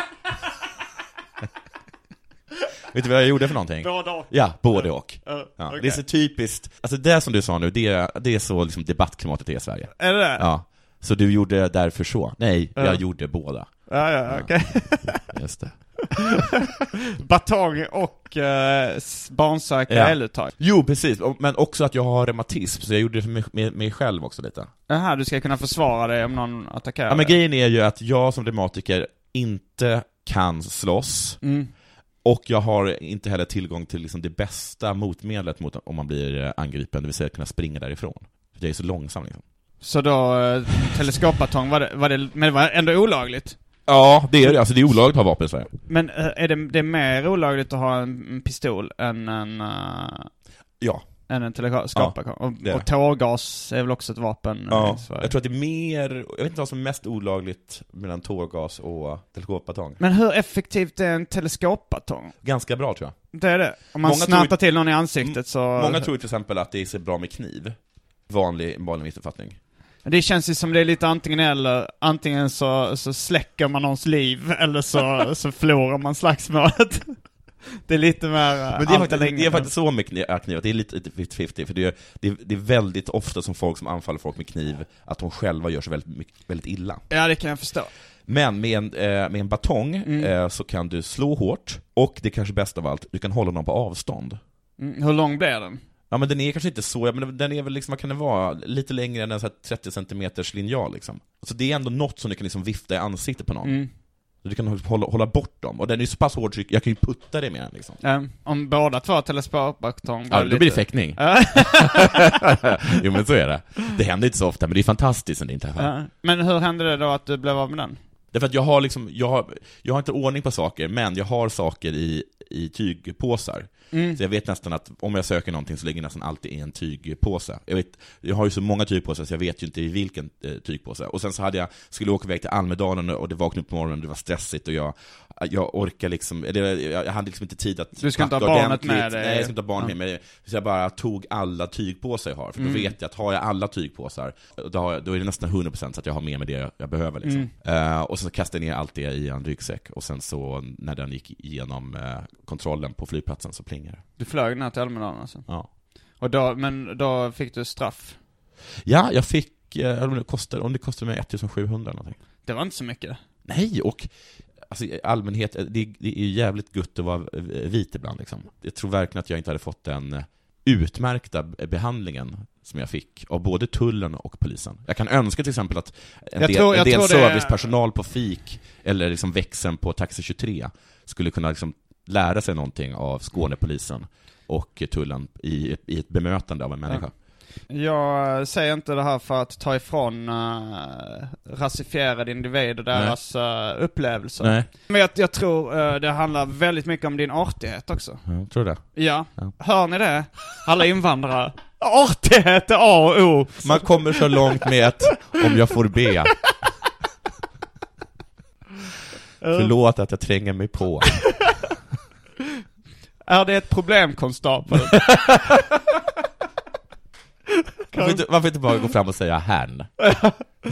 [SPEAKER 2] Vet du vad jag gjorde för någonting?
[SPEAKER 3] Både och. eh,
[SPEAKER 2] Ja, både och.
[SPEAKER 3] Ja,
[SPEAKER 2] Ja,
[SPEAKER 3] okej.
[SPEAKER 2] Det är så typiskt, alltså det som du sa nu, det är, det är så liksom debattklimatet är i Sverige.
[SPEAKER 3] Är det det?
[SPEAKER 2] [LAUGHS] Ja. Så du gjorde därför så? Nej,
[SPEAKER 3] Ja.
[SPEAKER 2] jag gjorde båda.
[SPEAKER 3] Ja, ja, okej. [LAUGHS]
[SPEAKER 2] Just det.
[SPEAKER 3] Batong och eh, s- barnsäkra
[SPEAKER 2] Ja.
[SPEAKER 3] eluttag.
[SPEAKER 2] Jo, precis. Och- Men också att jag har reumatism, så jag gjorde det för mig, med mig själv också lite.
[SPEAKER 3] Jaha, du ska kunna försvara dig om någon attackerar
[SPEAKER 2] Ja, men
[SPEAKER 3] dig.
[SPEAKER 2] grejen är ju att jag som reumatiker inte kan slåss,
[SPEAKER 3] Mm.
[SPEAKER 2] och jag har inte heller tillgång till liksom det bästa motmedlet mot om man blir eh, angripen, det vill säga att kunna springa därifrån. För jag är så långsam liksom.
[SPEAKER 3] Så då, eh, teleskopbatong, var det, var det, men det var ändå olagligt?
[SPEAKER 2] Ja, det är det. Alltså det är olagligt att ha vapen i Sverige.
[SPEAKER 3] Men eh, är det, det är mer olagligt att ha en, en pistol än en, eh,
[SPEAKER 2] Ja.
[SPEAKER 3] än en teleskopbatong?
[SPEAKER 2] det är
[SPEAKER 3] och,
[SPEAKER 2] det.
[SPEAKER 3] och tårgas är väl också ett vapen? eh,
[SPEAKER 2] Ja,
[SPEAKER 3] i Sverige.
[SPEAKER 2] jag tror att det är mer, jag vet inte vad som är mest olagligt mellan tårgas och teleskopbatong.
[SPEAKER 3] Men hur effektivt är en teleskopbatong?
[SPEAKER 2] Ganska bra tror jag.
[SPEAKER 3] Det är det. Om man
[SPEAKER 2] Många
[SPEAKER 3] snärtar
[SPEAKER 2] tror-
[SPEAKER 3] till någon i ansiktet så...
[SPEAKER 2] Många tror ju till exempel att det är så bra med kniv. Vanlig, vanlig missuppfattning.
[SPEAKER 3] Det känns ju som det är lite antingen eller. Antingen så, så släcker man någons liv eller
[SPEAKER 2] [LAUGHS]
[SPEAKER 3] så, så förlorar man slagsmålet. Det är lite mer... eh,
[SPEAKER 2] Men det är,
[SPEAKER 3] allt
[SPEAKER 2] faktiskt,
[SPEAKER 3] eller
[SPEAKER 2] det är
[SPEAKER 3] inget.
[SPEAKER 2] faktiskt så med kniv, kniv att det är lite lite 50-50, för det är, det, är, det är väldigt ofta som folk som anfaller folk med kniv, att de själva gör sig väldigt, mycket- väldigt illa.
[SPEAKER 3] Ja, det kan jag förstå.
[SPEAKER 2] Men med en, eh, med en batong eh, så kan du slå hårt, och det kanske bästa av allt, du kan hålla någon på avstånd.
[SPEAKER 3] Mm, hur lång blir den?
[SPEAKER 2] Ja men den är kanske inte så, ja, men den är väl liksom, vad kan den vara, lite längre än en så här 30 centimeters linjal liksom. Så det är ändå något som du kan liksom vifta i ansiktet på någon.
[SPEAKER 3] Mm.
[SPEAKER 2] Så Du kan hålla, hålla bort dem, och den är ju så pass hård så jag kan ju putta dig med den liksom.
[SPEAKER 3] Eh, om båda två har teleskopbatong
[SPEAKER 2] Ja,
[SPEAKER 3] var
[SPEAKER 2] då blir det fäktning. [LAUGHS] jo men så är det. Det händer inte så ofta, men det är fantastiskt när det inte händer.
[SPEAKER 3] Ja. Men hur hände det då att du blev av med den?
[SPEAKER 2] Därför att jag har liksom, jag har, jag har inte ordning på saker, men jag har saker i, i tygpåsar.
[SPEAKER 3] Mm.
[SPEAKER 2] Så jag vet nästan att om jag söker någonting så ligger det nästan alltid i en tygpåse. Jag, vet, jag har ju så många tygpåsar så jag vet ju inte i vilken eh, tygpåse. Och sen så hade jag, skulle jag åka iväg till Almedalen och det vaknade upp på morgonen, det var stressigt och jag, jag orkar liksom, eller jag, jag hade liksom inte tid att
[SPEAKER 3] Du ska inte ha
[SPEAKER 2] packa
[SPEAKER 3] barnet
[SPEAKER 2] ordentligt.
[SPEAKER 3] med dig.
[SPEAKER 2] Nej, jag ska inte ha barnet med mig. Så jag bara tog alla tygpåsar jag har, för då
[SPEAKER 3] Mm.
[SPEAKER 2] vet jag att har jag alla tygpåsar, då, har jag, då är det nästan 100% så att jag har med mig det jag, jag behöver. Liksom.
[SPEAKER 3] Mm.
[SPEAKER 2] Eh, och så kastade jag ner allt det i en ryggsäck, och sen så när den gick igenom eh, kontrollen på flygplatsen så plingade det.
[SPEAKER 3] Du flög ner till Almedalen alltså?
[SPEAKER 2] Ja.
[SPEAKER 3] Och då, men då fick du straff?
[SPEAKER 2] ja, jag fick, eh, om, det kostade, om det kostade mig 1700 eller någonting.
[SPEAKER 3] Det var inte så mycket.
[SPEAKER 2] Nej, och alltså, i allmänhet, eh, det, det är ju jävligt gött att vara eh, vit ibland liksom. Jag tror verkligen att jag inte hade fått den eh, utmärkta be- behandlingen som jag fick av både tullen och polisen. Jag kan önska till exempel att en
[SPEAKER 3] Jag
[SPEAKER 2] del,
[SPEAKER 3] tror-
[SPEAKER 2] en
[SPEAKER 3] jag
[SPEAKER 2] del
[SPEAKER 3] tror det är-
[SPEAKER 2] servicepersonal på fik, eller liksom växeln på Taxi 23, skulle kunna liksom lära sig någonting av Skånepolisen och eh, tullen i, i ett bemötande av en människa.
[SPEAKER 3] Jag eh, säger inte det här för att ta ifrån uh, rasifierade individer deras eh, upplevelser.
[SPEAKER 2] Nej,
[SPEAKER 3] Men jag, jag tror eh, det handlar väldigt mycket om din artighet också.
[SPEAKER 2] jag tror det.
[SPEAKER 3] Ja.
[SPEAKER 2] Ja.
[SPEAKER 3] Hör ni det? Alla
[SPEAKER 2] [LAUGHS]
[SPEAKER 3] invandrare. Artighet är A och O.
[SPEAKER 2] Man kommer så långt med ett om jag får be. Förlåt att jag tränger mig på.
[SPEAKER 3] Är det ett problem,
[SPEAKER 2] [LAUGHS]
[SPEAKER 3] konstapeln?
[SPEAKER 2] Varför inte, varför inte bara gå fram och säga herrn?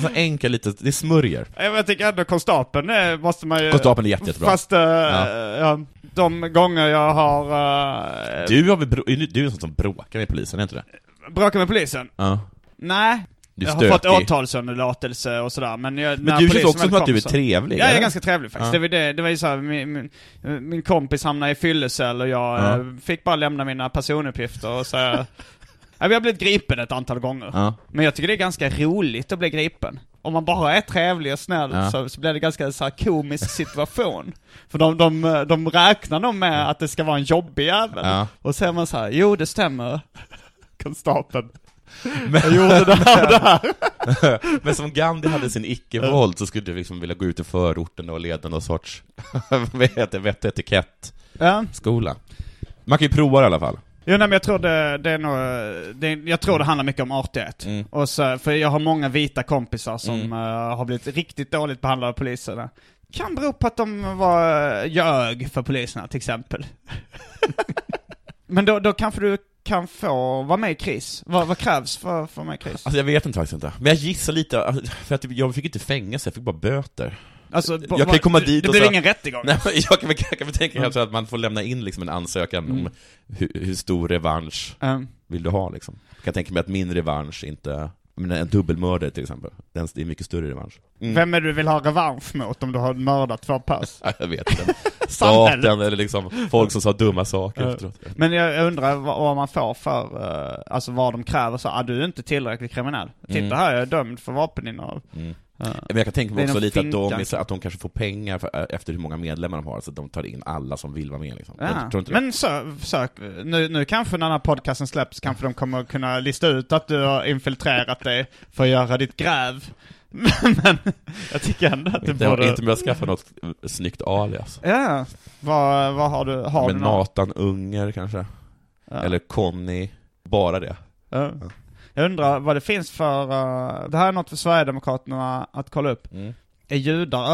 [SPEAKER 2] Så enkel lite, det smörjer.
[SPEAKER 3] Jag vet, tycker ändå konstapeln eh, måste man ju...
[SPEAKER 2] Konstapeln är jätte, jättebra.
[SPEAKER 3] Fast eh,
[SPEAKER 2] Ja.
[SPEAKER 3] ja. de gånger jag har eh,
[SPEAKER 2] Du, har väl bro, är du- du är en sån som bråkar med polisen, är inte det?
[SPEAKER 3] bråkat med polisen.
[SPEAKER 2] Ja.
[SPEAKER 3] Nej.
[SPEAKER 2] Du är
[SPEAKER 3] jag har fått
[SPEAKER 2] stötig.
[SPEAKER 3] åtalsunderlåtelse och sådär, men jag,
[SPEAKER 2] Men du känns också som att du är trevlig.
[SPEAKER 3] Ja, jag är
[SPEAKER 2] eller?
[SPEAKER 3] ganska trevlig faktiskt.
[SPEAKER 2] Ja.
[SPEAKER 3] Det var ju det, det var ju så här, min, min, min kompis hamnade i fyllecell och jag
[SPEAKER 2] Ja.
[SPEAKER 3] eh, fick bara lämna mina personuppgifter och så... ja, vi har blivit gripen ett antal gånger.
[SPEAKER 2] Ja.
[SPEAKER 3] Men jag tycker det är ganska roligt att bli gripen. Om man bara är trevlig och snäll
[SPEAKER 2] Ja.
[SPEAKER 3] så, så blir det ganska så här komisk situation. För de, de, eh, de räknar nog med att det ska vara en jobbig jävel.
[SPEAKER 2] Ja.
[SPEAKER 3] Och så är man så här, jo det stämmer. Konstapeln.
[SPEAKER 2] Men,
[SPEAKER 3] Jag gjorde det här
[SPEAKER 2] [LAUGHS]
[SPEAKER 3] och det här.
[SPEAKER 2] men som Gandhi hade sin icke-våld så skulle du liksom vilja gå ut i förorten och leda någon sorts, [LAUGHS] vad heter det, vett och etikettskola.
[SPEAKER 3] Ja.
[SPEAKER 2] Man kan ju prova det i alla fall.
[SPEAKER 3] Jo, nej, men jag tror det, det är nog, det, jag tror det handlar mycket om artighet.
[SPEAKER 2] Mm.
[SPEAKER 3] Och så, för jag har många vita kompisar som eh, har blivit riktigt dåligt behandlade av poliserna. Kan bero på att de var eh, ljög för poliserna till
[SPEAKER 2] [LAUGHS]
[SPEAKER 3] exempel. men då, då kanske du kan få vara med i KRIS. Vad, vad krävs för, för att vara med i KRIS?
[SPEAKER 2] Alltså jag vet inte faktiskt inte. Men jag gissar lite, alltså, för att jag fick inte fängelse, jag fick bara böter.
[SPEAKER 3] Alltså, ba-
[SPEAKER 2] jag kan
[SPEAKER 3] ba-
[SPEAKER 2] ju komma dit
[SPEAKER 3] det
[SPEAKER 2] och
[SPEAKER 3] blir
[SPEAKER 2] säga-
[SPEAKER 3] ingen rättegång.
[SPEAKER 2] [LAUGHS] Nej, men jag kan väl jag kan väl tänka mig så att man får lämna in liksom en ansökan om hur, hur stor revansch
[SPEAKER 3] Ehm,
[SPEAKER 2] vill du ha liksom. Jag kan tänka mig att min revansch inte, jag menar, en dubbelmördare till exempel, den det är mycket större revansch. Mm.
[SPEAKER 3] Vem är det du vill ha revansch mot om du har mördat två pers?
[SPEAKER 2] Ja, Jag vet inte.
[SPEAKER 3] [LAUGHS] Samhället.
[SPEAKER 2] Staten eller liksom folk som sa dumma saker efteråt.
[SPEAKER 3] Men jag jag undrar vad, vad man får för, eh, alltså vad de kräver så, ah, du är inte tillräckligt kriminell. Titta
[SPEAKER 2] Mm.
[SPEAKER 3] här, jag är dömd för vapeninnehav.
[SPEAKER 2] Mm.
[SPEAKER 3] Eh,
[SPEAKER 2] Men jag kan tänka mig
[SPEAKER 3] Det är
[SPEAKER 2] också
[SPEAKER 3] någon
[SPEAKER 2] lite att de,
[SPEAKER 3] finkan.
[SPEAKER 2] är så- att de kanske får pengar för, eh, efter hur många medlemmar de har, så att de tar in alla som vill vara med liksom.
[SPEAKER 3] Ja.
[SPEAKER 2] Jag tror inte det.
[SPEAKER 3] Men sö, sök, nu, nu kanske när den här podcasten släpps kanske de kommer kunna lista ut att du har infiltrerat dig för att göra ditt gräv. [LAUGHS] Men jag tycker ändå att det
[SPEAKER 2] inte,
[SPEAKER 3] borde...
[SPEAKER 2] inte med att skaffa något snyggt alias.
[SPEAKER 3] Ja, vad, vad har du? Har
[SPEAKER 2] Men
[SPEAKER 3] du något?
[SPEAKER 2] Nathan Unger kanske,
[SPEAKER 3] Ja.
[SPEAKER 2] eller Conny, bara det.
[SPEAKER 3] Ja. Jag undrar vad det finns för, eh, det här är något för Sverigedemokraterna att kolla upp.
[SPEAKER 2] Mm.
[SPEAKER 3] Är judar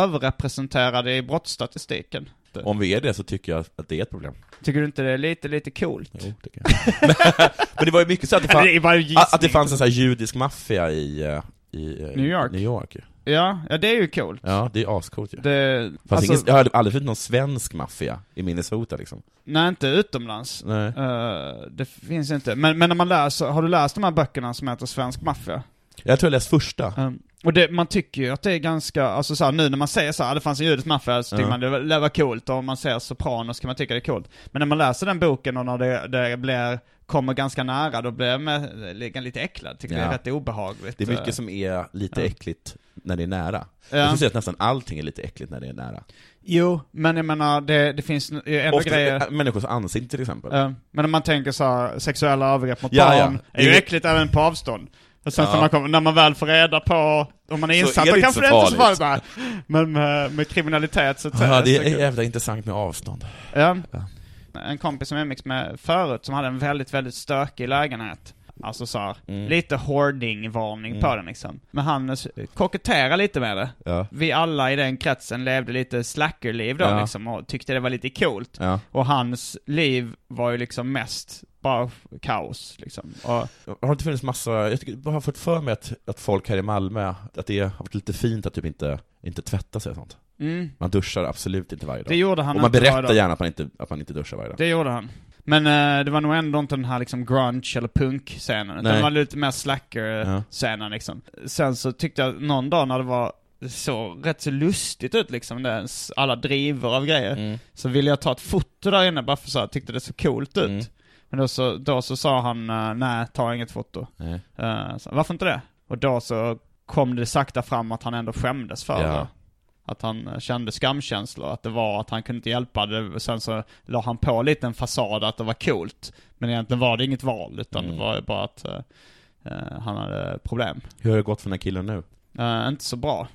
[SPEAKER 3] överrepresenterade i brottsstatistiken?
[SPEAKER 2] Om vi är det så tycker jag att det är ett problem.
[SPEAKER 3] Tycker du inte det är lite, lite coolt?
[SPEAKER 2] Jo,
[SPEAKER 3] [LAUGHS]
[SPEAKER 2] det kan jag. [LAUGHS] Men det var ju mycket så att det,
[SPEAKER 3] Det är
[SPEAKER 2] fann,
[SPEAKER 3] bara en gissning.
[SPEAKER 2] att det fanns en sån här judisk maffia i, eh, i eh,
[SPEAKER 3] New York.
[SPEAKER 2] New York ju.
[SPEAKER 3] Ja, ja det är ju coolt.
[SPEAKER 2] Ja, det är ascoolt ju.
[SPEAKER 3] Det,
[SPEAKER 2] Fast
[SPEAKER 3] alltså,
[SPEAKER 2] ingen, jag har aldrig sett någon svensk maffia i Minnesota liksom.
[SPEAKER 3] nej inte utomlands.
[SPEAKER 2] Nej.
[SPEAKER 3] Eh, det finns inte. Men, men när man läser, har du läst de här böckerna som heter Svensk Maffia?
[SPEAKER 2] Jag tror jag läst första.
[SPEAKER 3] Um, och det, man tycker ju att det är ganska, alltså så här, nu när man säger så här, det fanns en judisk maffia, så tycker
[SPEAKER 2] Ja.
[SPEAKER 3] man det var, det var coolt, och om man ser Sopranos så kan man tycka det är coolt. Men när man läser den boken och när det, det blir, kommer ganska nära, då blir man lite- lite äcklad, tycker det är
[SPEAKER 2] Ja.
[SPEAKER 3] rätt obehagligt.
[SPEAKER 2] Det är
[SPEAKER 3] Eh,
[SPEAKER 2] mycket som är lite
[SPEAKER 3] Ja.
[SPEAKER 2] äckligt när det är nära.
[SPEAKER 3] Ja.
[SPEAKER 2] Jag skulle säga att nästan allting är lite äckligt när det är nära.
[SPEAKER 3] Jo, men jag menar, det, det finns ju ändå
[SPEAKER 2] Ofta
[SPEAKER 3] grejer...
[SPEAKER 2] äh, människors ansikten till exempel.
[SPEAKER 3] Eh, Men om man tänker så här, sexuella övergrepp mot
[SPEAKER 2] Ja, ja.
[SPEAKER 3] barn är ju
[SPEAKER 2] Det-
[SPEAKER 3] äckligt även på avstånd. Och sen
[SPEAKER 2] Ja.
[SPEAKER 3] när, man kommer, när man väl får reda på, om man är
[SPEAKER 2] Så
[SPEAKER 3] insatt,
[SPEAKER 2] är det
[SPEAKER 3] då
[SPEAKER 2] inte
[SPEAKER 3] kanske det
[SPEAKER 2] så
[SPEAKER 3] är inte är så
[SPEAKER 2] farligt.
[SPEAKER 3] farligt. Men med, med kriminalitet så
[SPEAKER 2] Ja, det
[SPEAKER 3] så-
[SPEAKER 2] är jävla intressant med avstånd.
[SPEAKER 3] Ja. En kompis som jag umgicks med förut som hade en väldigt, väldigt stökig lägenhet. Alltså så här,
[SPEAKER 2] Mm.
[SPEAKER 3] lite hoarding-varning på den liksom. Men han eh, koketterade lite med det.
[SPEAKER 2] Ja.
[SPEAKER 3] Vi alla i den kretsen levde lite slackerliv då
[SPEAKER 2] Ja.
[SPEAKER 3] liksom och tyckte det var lite coolt.
[SPEAKER 2] Ja.
[SPEAKER 3] Och hans liv var ju liksom mest bara kaos liksom. Och,
[SPEAKER 2] Har det inte funnits massa, jag, tycker, jag har fått för mig att, att folk här i Malmö, att det har varit lite fint att typ inte, inte tvätta sig och sånt.
[SPEAKER 3] mm,
[SPEAKER 2] Man duschar absolut inte varje dag.
[SPEAKER 3] det gjorde han
[SPEAKER 2] och man
[SPEAKER 3] inte varje
[SPEAKER 2] berättar
[SPEAKER 3] dag.
[SPEAKER 2] gärna att man, inte, att man inte duschar varje dag.
[SPEAKER 3] Det gjorde han. Men eh, det var nog ändå inte den här liksom grunge eller punk-scenen. utan
[SPEAKER 2] Nej.
[SPEAKER 3] Det var lite mer slacker-scenen liksom. Sen så tyckte jag någon dag när det var så rätt så lustigt ut liksom, det, ens alla drivor av grejer.
[SPEAKER 2] Mm.
[SPEAKER 3] Så ville jag ta ett foto där inne bara för så här, tyckte det så coolt ut.
[SPEAKER 2] Mm.
[SPEAKER 3] Men då så, då så sa han eh, nej, ta inget foto.
[SPEAKER 2] Nej.
[SPEAKER 3] Eh, så, varför inte det? Och då så kom det sakta fram att han ändå skämdes för
[SPEAKER 2] Ja.
[SPEAKER 3] det. Att han eh, kände skamkänslor, att det var att han kunde inte hjälpa det. Och Sen så la han på lite en fasad att det var coolt. Men egentligen var det inget val, utan
[SPEAKER 2] Mm.
[SPEAKER 3] det var ju bara att eh, eh, han hade problem.
[SPEAKER 2] Hur har det gått för den här killen nu?
[SPEAKER 3] Eh, inte så
[SPEAKER 2] [LAUGHS]
[SPEAKER 3] bra.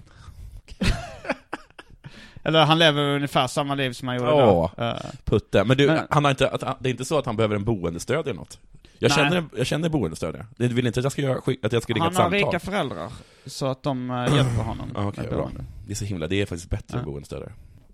[SPEAKER 3] Eller han lever ungefär samma liv som han gjorde då.
[SPEAKER 2] Ja.
[SPEAKER 3] Eh,
[SPEAKER 2] Putte. Men du,
[SPEAKER 3] Men-
[SPEAKER 2] han har inte, att, det är inte så att han behöver en boendestöd eller något? Jag
[SPEAKER 3] Nej.
[SPEAKER 2] känner, en- jag känner en boendestödjare. Du vill inte att jag ska, göra, skick- att jag ska ringa
[SPEAKER 3] han
[SPEAKER 2] ett
[SPEAKER 3] har
[SPEAKER 2] samtal?
[SPEAKER 3] rika föräldrar, så att de eh, hjälper honom.
[SPEAKER 2] Ja, [CLEARS THROAT] Okej,
[SPEAKER 3] med
[SPEAKER 2] bra.
[SPEAKER 3] boende.
[SPEAKER 2] Det är så himla, det är faktiskt bättre
[SPEAKER 3] Ja.
[SPEAKER 2] än boendestödjare.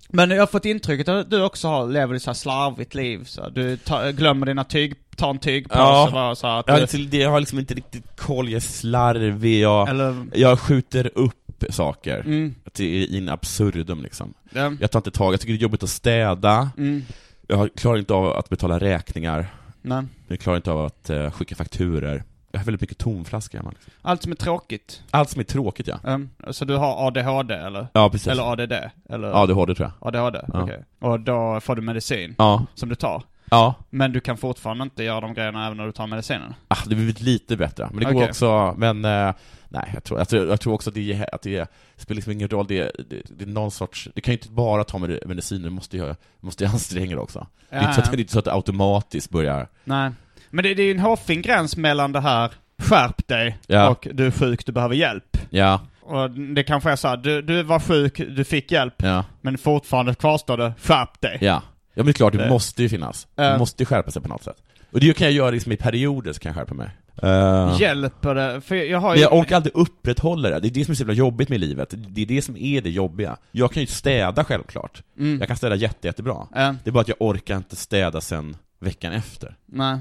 [SPEAKER 3] Men jag har fått intrycket att du också har, lever ett så här slarvigt liv. Så här. du ta, glömmer dina tyg, tar en tygpåse
[SPEAKER 2] Ja.
[SPEAKER 3] bara så här, att
[SPEAKER 2] Jag har,
[SPEAKER 3] du,
[SPEAKER 2] inte, det- jag har liksom inte riktigt koll, jag är slarvig, jag,
[SPEAKER 3] Eller,
[SPEAKER 2] jag skjuter upp saker.
[SPEAKER 3] mm,
[SPEAKER 2] Att det är in absurdum liksom.
[SPEAKER 3] ja,
[SPEAKER 2] Jag tar inte tag, jag tycker det är jobbigt att städa,
[SPEAKER 3] mm,
[SPEAKER 2] jag klarar inte av att betala räkningar,
[SPEAKER 3] nej.
[SPEAKER 2] jag klarar inte av att eh, skicka fakturer. Jag har väldigt mycket tomflaska hemma. Liksom.
[SPEAKER 3] Allt som är tråkigt.
[SPEAKER 2] Allt som är tråkigt ja.
[SPEAKER 3] Um, så du har ADHD eller?
[SPEAKER 2] Ja, precis.
[SPEAKER 3] Eller ADD? Eller
[SPEAKER 2] ADHD tror jag.
[SPEAKER 3] ADHD? Okej.
[SPEAKER 2] Ja.
[SPEAKER 3] Och då får du medicin
[SPEAKER 2] Ja.
[SPEAKER 3] som du tar.
[SPEAKER 2] Ja.
[SPEAKER 3] Men du kan fortfarande inte göra de grejerna även när du tar medicinen.
[SPEAKER 2] Ah, det har blivit lite bättre, men det går
[SPEAKER 3] Okej.
[SPEAKER 2] också, men eh, nej, jag tror, jag, tror, jag tror också att det, är- att det är- spelar liksom ingen roll, det, det, det är någon sorts, du kan ju inte bara ta med medicin, du måste ju, måste ju anstränga dig också. Det är inte så att,
[SPEAKER 3] Ja.
[SPEAKER 2] det är inte så att det automatiskt börjar,
[SPEAKER 3] Ehm, Nej. Men det, det är ju en hårfin gräns mellan det här, skärp dig,
[SPEAKER 2] Ja.
[SPEAKER 3] och du är sjuk, du behöver hjälp.
[SPEAKER 2] ja,
[SPEAKER 3] Och det kanske är så här, du, du var sjuk, du fick hjälp.
[SPEAKER 2] ja,
[SPEAKER 3] Men fortfarande kvarstår det, skärp dig.
[SPEAKER 2] ja. Ja men det är klart,
[SPEAKER 3] Eh.
[SPEAKER 2] det måste ju finnas.
[SPEAKER 3] Eh.
[SPEAKER 2] Det måste ju skärpa sig på något sätt. Och det kan jag göra liksom i perioder, så kan jag skärpa mig. Eh,
[SPEAKER 3] Hjälper det? För jag har
[SPEAKER 2] Men
[SPEAKER 3] ju...
[SPEAKER 2] jag orkar aldrig upprätthålla det, det är det som är så jävla jobbigt med livet, det är det som är det jobbiga. Jag kan ju städa självklart,
[SPEAKER 3] Mm.
[SPEAKER 2] jag kan städa jätte, jättebra.
[SPEAKER 3] Eh,
[SPEAKER 2] Det är bara att jag orkar inte städa sen veckan efter.
[SPEAKER 3] nej.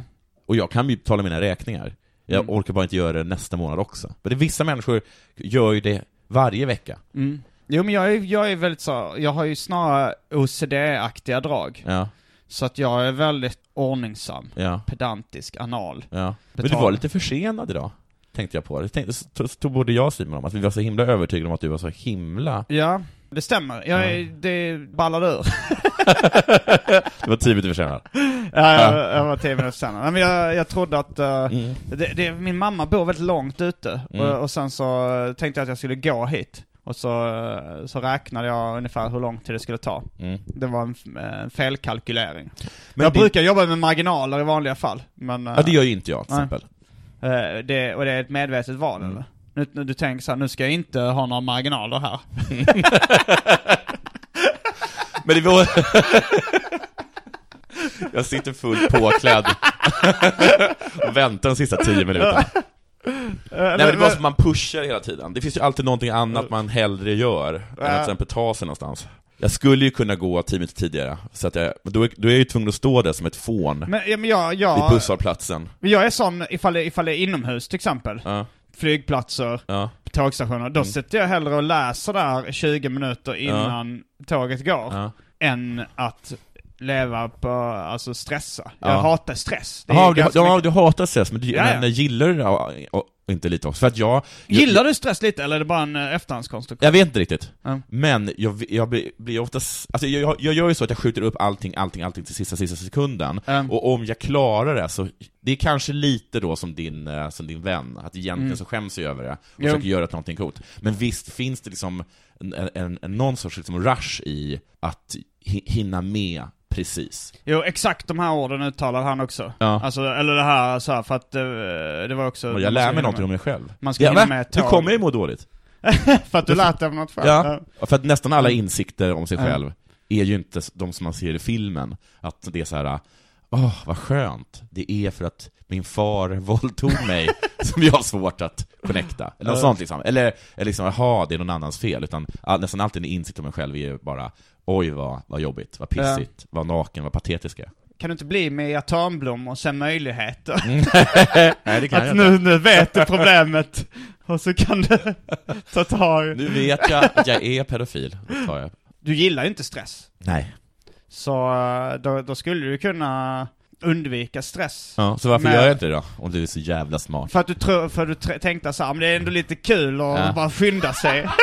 [SPEAKER 2] Och jag kan ju betala mina räkningar. Jag
[SPEAKER 3] Mm.
[SPEAKER 2] orkar bara inte göra det nästa månad också. Men det, vissa människor gör ju det varje vecka.
[SPEAKER 3] Mm. Jo men jag är, jag är väldigt så, jag har ju snarare OCD-aktiga drag.
[SPEAKER 2] Ja,
[SPEAKER 3] Så att jag är väldigt ordningsam,
[SPEAKER 2] ja,
[SPEAKER 3] pedantisk, anal.
[SPEAKER 2] ja. Men du
[SPEAKER 3] Betala.
[SPEAKER 2] var lite försenad idag, tänkte jag på. Det tänkte, så så tog både jag och Simon om, att vi var så himla övertygade om att du var så himla...
[SPEAKER 3] Ja, det stämmer. Jag är, det ballade ur.
[SPEAKER 2] Du var tio minuter försenad.
[SPEAKER 3] Ja, jag, jag var tio minuter senare. Nej, Men jag, jag trodde att... eh,
[SPEAKER 2] Mm.
[SPEAKER 3] det, det, min mamma bor väldigt långt ute. Och, och sen så eh, tänkte jag att jag skulle gå hit. Och så, eh, så räknade jag ungefär hur lång tid det skulle ta.
[SPEAKER 2] Mm.
[SPEAKER 3] Det var en, f- en felkalkylering.
[SPEAKER 2] Men
[SPEAKER 3] jag
[SPEAKER 2] det-
[SPEAKER 3] brukar jobba med marginaler i vanliga fall. Men, eh,
[SPEAKER 2] Ja, det gör ju inte jag till
[SPEAKER 3] Nej.
[SPEAKER 2] exempel.
[SPEAKER 3] eh, det, och det är ett medvetet val
[SPEAKER 2] Mm.
[SPEAKER 3] eller? Nu, nu, du tänker så här, nu ska jag inte ha några marginaler här.
[SPEAKER 2] Men det var... [LAUGHS] jag sitter fullt påklädd och väntar de sista tio minuterna. Nej men det var som att man pushar hela tiden. Det finns ju alltid någonting annat man hellre gör än att till exempel ta sig någonstans. Jag skulle ju kunna gå tio minuter tidigare, så att jag, men då, är, då är jag ju tvungen att stå där som ett fån
[SPEAKER 3] Men, ja, men jag,
[SPEAKER 2] vid
[SPEAKER 3] jag,
[SPEAKER 2] busshållplatsen.
[SPEAKER 3] jag är sån ifall det, ifall det är inomhus till exempel.
[SPEAKER 2] Ja,
[SPEAKER 3] Flygplatser.
[SPEAKER 2] ja,
[SPEAKER 3] på tågstationer,
[SPEAKER 2] Mm.
[SPEAKER 3] då sitter jag hellre och läser där 20 minuter innan tåget går,
[SPEAKER 2] ja.
[SPEAKER 3] än att leva på, alltså stressa.
[SPEAKER 2] Ja.
[SPEAKER 3] Jag hatar stress. Det är
[SPEAKER 2] Jaha, du,
[SPEAKER 3] ganska
[SPEAKER 2] ja,
[SPEAKER 3] mycket-
[SPEAKER 2] du hatar stress, men du,
[SPEAKER 3] Ja, ja.
[SPEAKER 2] men gillar du det och, och, inte lite också? För att jag...
[SPEAKER 3] Gillar du stress lite, eller är det bara en eh, efterhandskonstruktion?
[SPEAKER 2] Jag vet inte riktigt.
[SPEAKER 3] Ja.
[SPEAKER 2] Men jag, jag blir- blir oftast, alltså jag, jag gör ju så att jag skjuter upp allting, allting, allting till sista, sista sekunden.
[SPEAKER 3] Mm.
[SPEAKER 2] Och om jag klarar det så, det är kanske lite då som din, eh, som din vän, att egentligen så skäms jag över det och
[SPEAKER 3] Mm. Jo.
[SPEAKER 2] försöker göra någonting coolt. Men visst finns det liksom en, en, en, någon sorts liksom rush i att hi- hinna med precis.
[SPEAKER 3] Jo, exakt de här orden uttalar han också.
[SPEAKER 2] Ja.
[SPEAKER 3] Alltså, eller det här så här, för att eh, det var också...
[SPEAKER 2] Och jag lär mig någonting om mig själv.
[SPEAKER 3] Man ska hinna
[SPEAKER 2] va?
[SPEAKER 3] med ett
[SPEAKER 2] Nu
[SPEAKER 3] tag.
[SPEAKER 2] kommer jag ju må dåligt.
[SPEAKER 3] För att du lät dig av något själv.
[SPEAKER 2] Ja, för att nästan alla insikter om sig
[SPEAKER 3] Mm. Ja.
[SPEAKER 2] själv är ju inte de som man ser i filmen. Att det är så här, åh vad skönt, det är för att min far [LAUGHS] våldtog mig som jag har svårt att connecta. Eller något sånt liksom. Eller, eller liksom, jaha, det är någon annans fel. Utan all, nästan alltid en insikt om en själv är ju bara, oj vad, vad jobbigt, vad pissigt, vad naken, vad patetisk jag är.
[SPEAKER 3] Kan du inte bli Mia Törnblom och se möjligheter?
[SPEAKER 2] Mm. [LAUGHS] Nej, det
[SPEAKER 3] att nu, nu vet du problemet, och så kan du ta tag
[SPEAKER 2] Nu vet jag att jag är pedofil, det tar jag.
[SPEAKER 3] Du gillar ju inte stress.
[SPEAKER 2] Nej.
[SPEAKER 3] Så eh, då, då skulle du kunna undvika stress.
[SPEAKER 2] Ja, så varför
[SPEAKER 3] Men-
[SPEAKER 2] gör jag inte det då? Om du är så jävla smart.
[SPEAKER 3] För att du, tror, för att du tre- tänkte så här, "Ah, men det är ändå lite kul att
[SPEAKER 2] Ja.
[SPEAKER 3] bara skynda sig. [LAUGHS]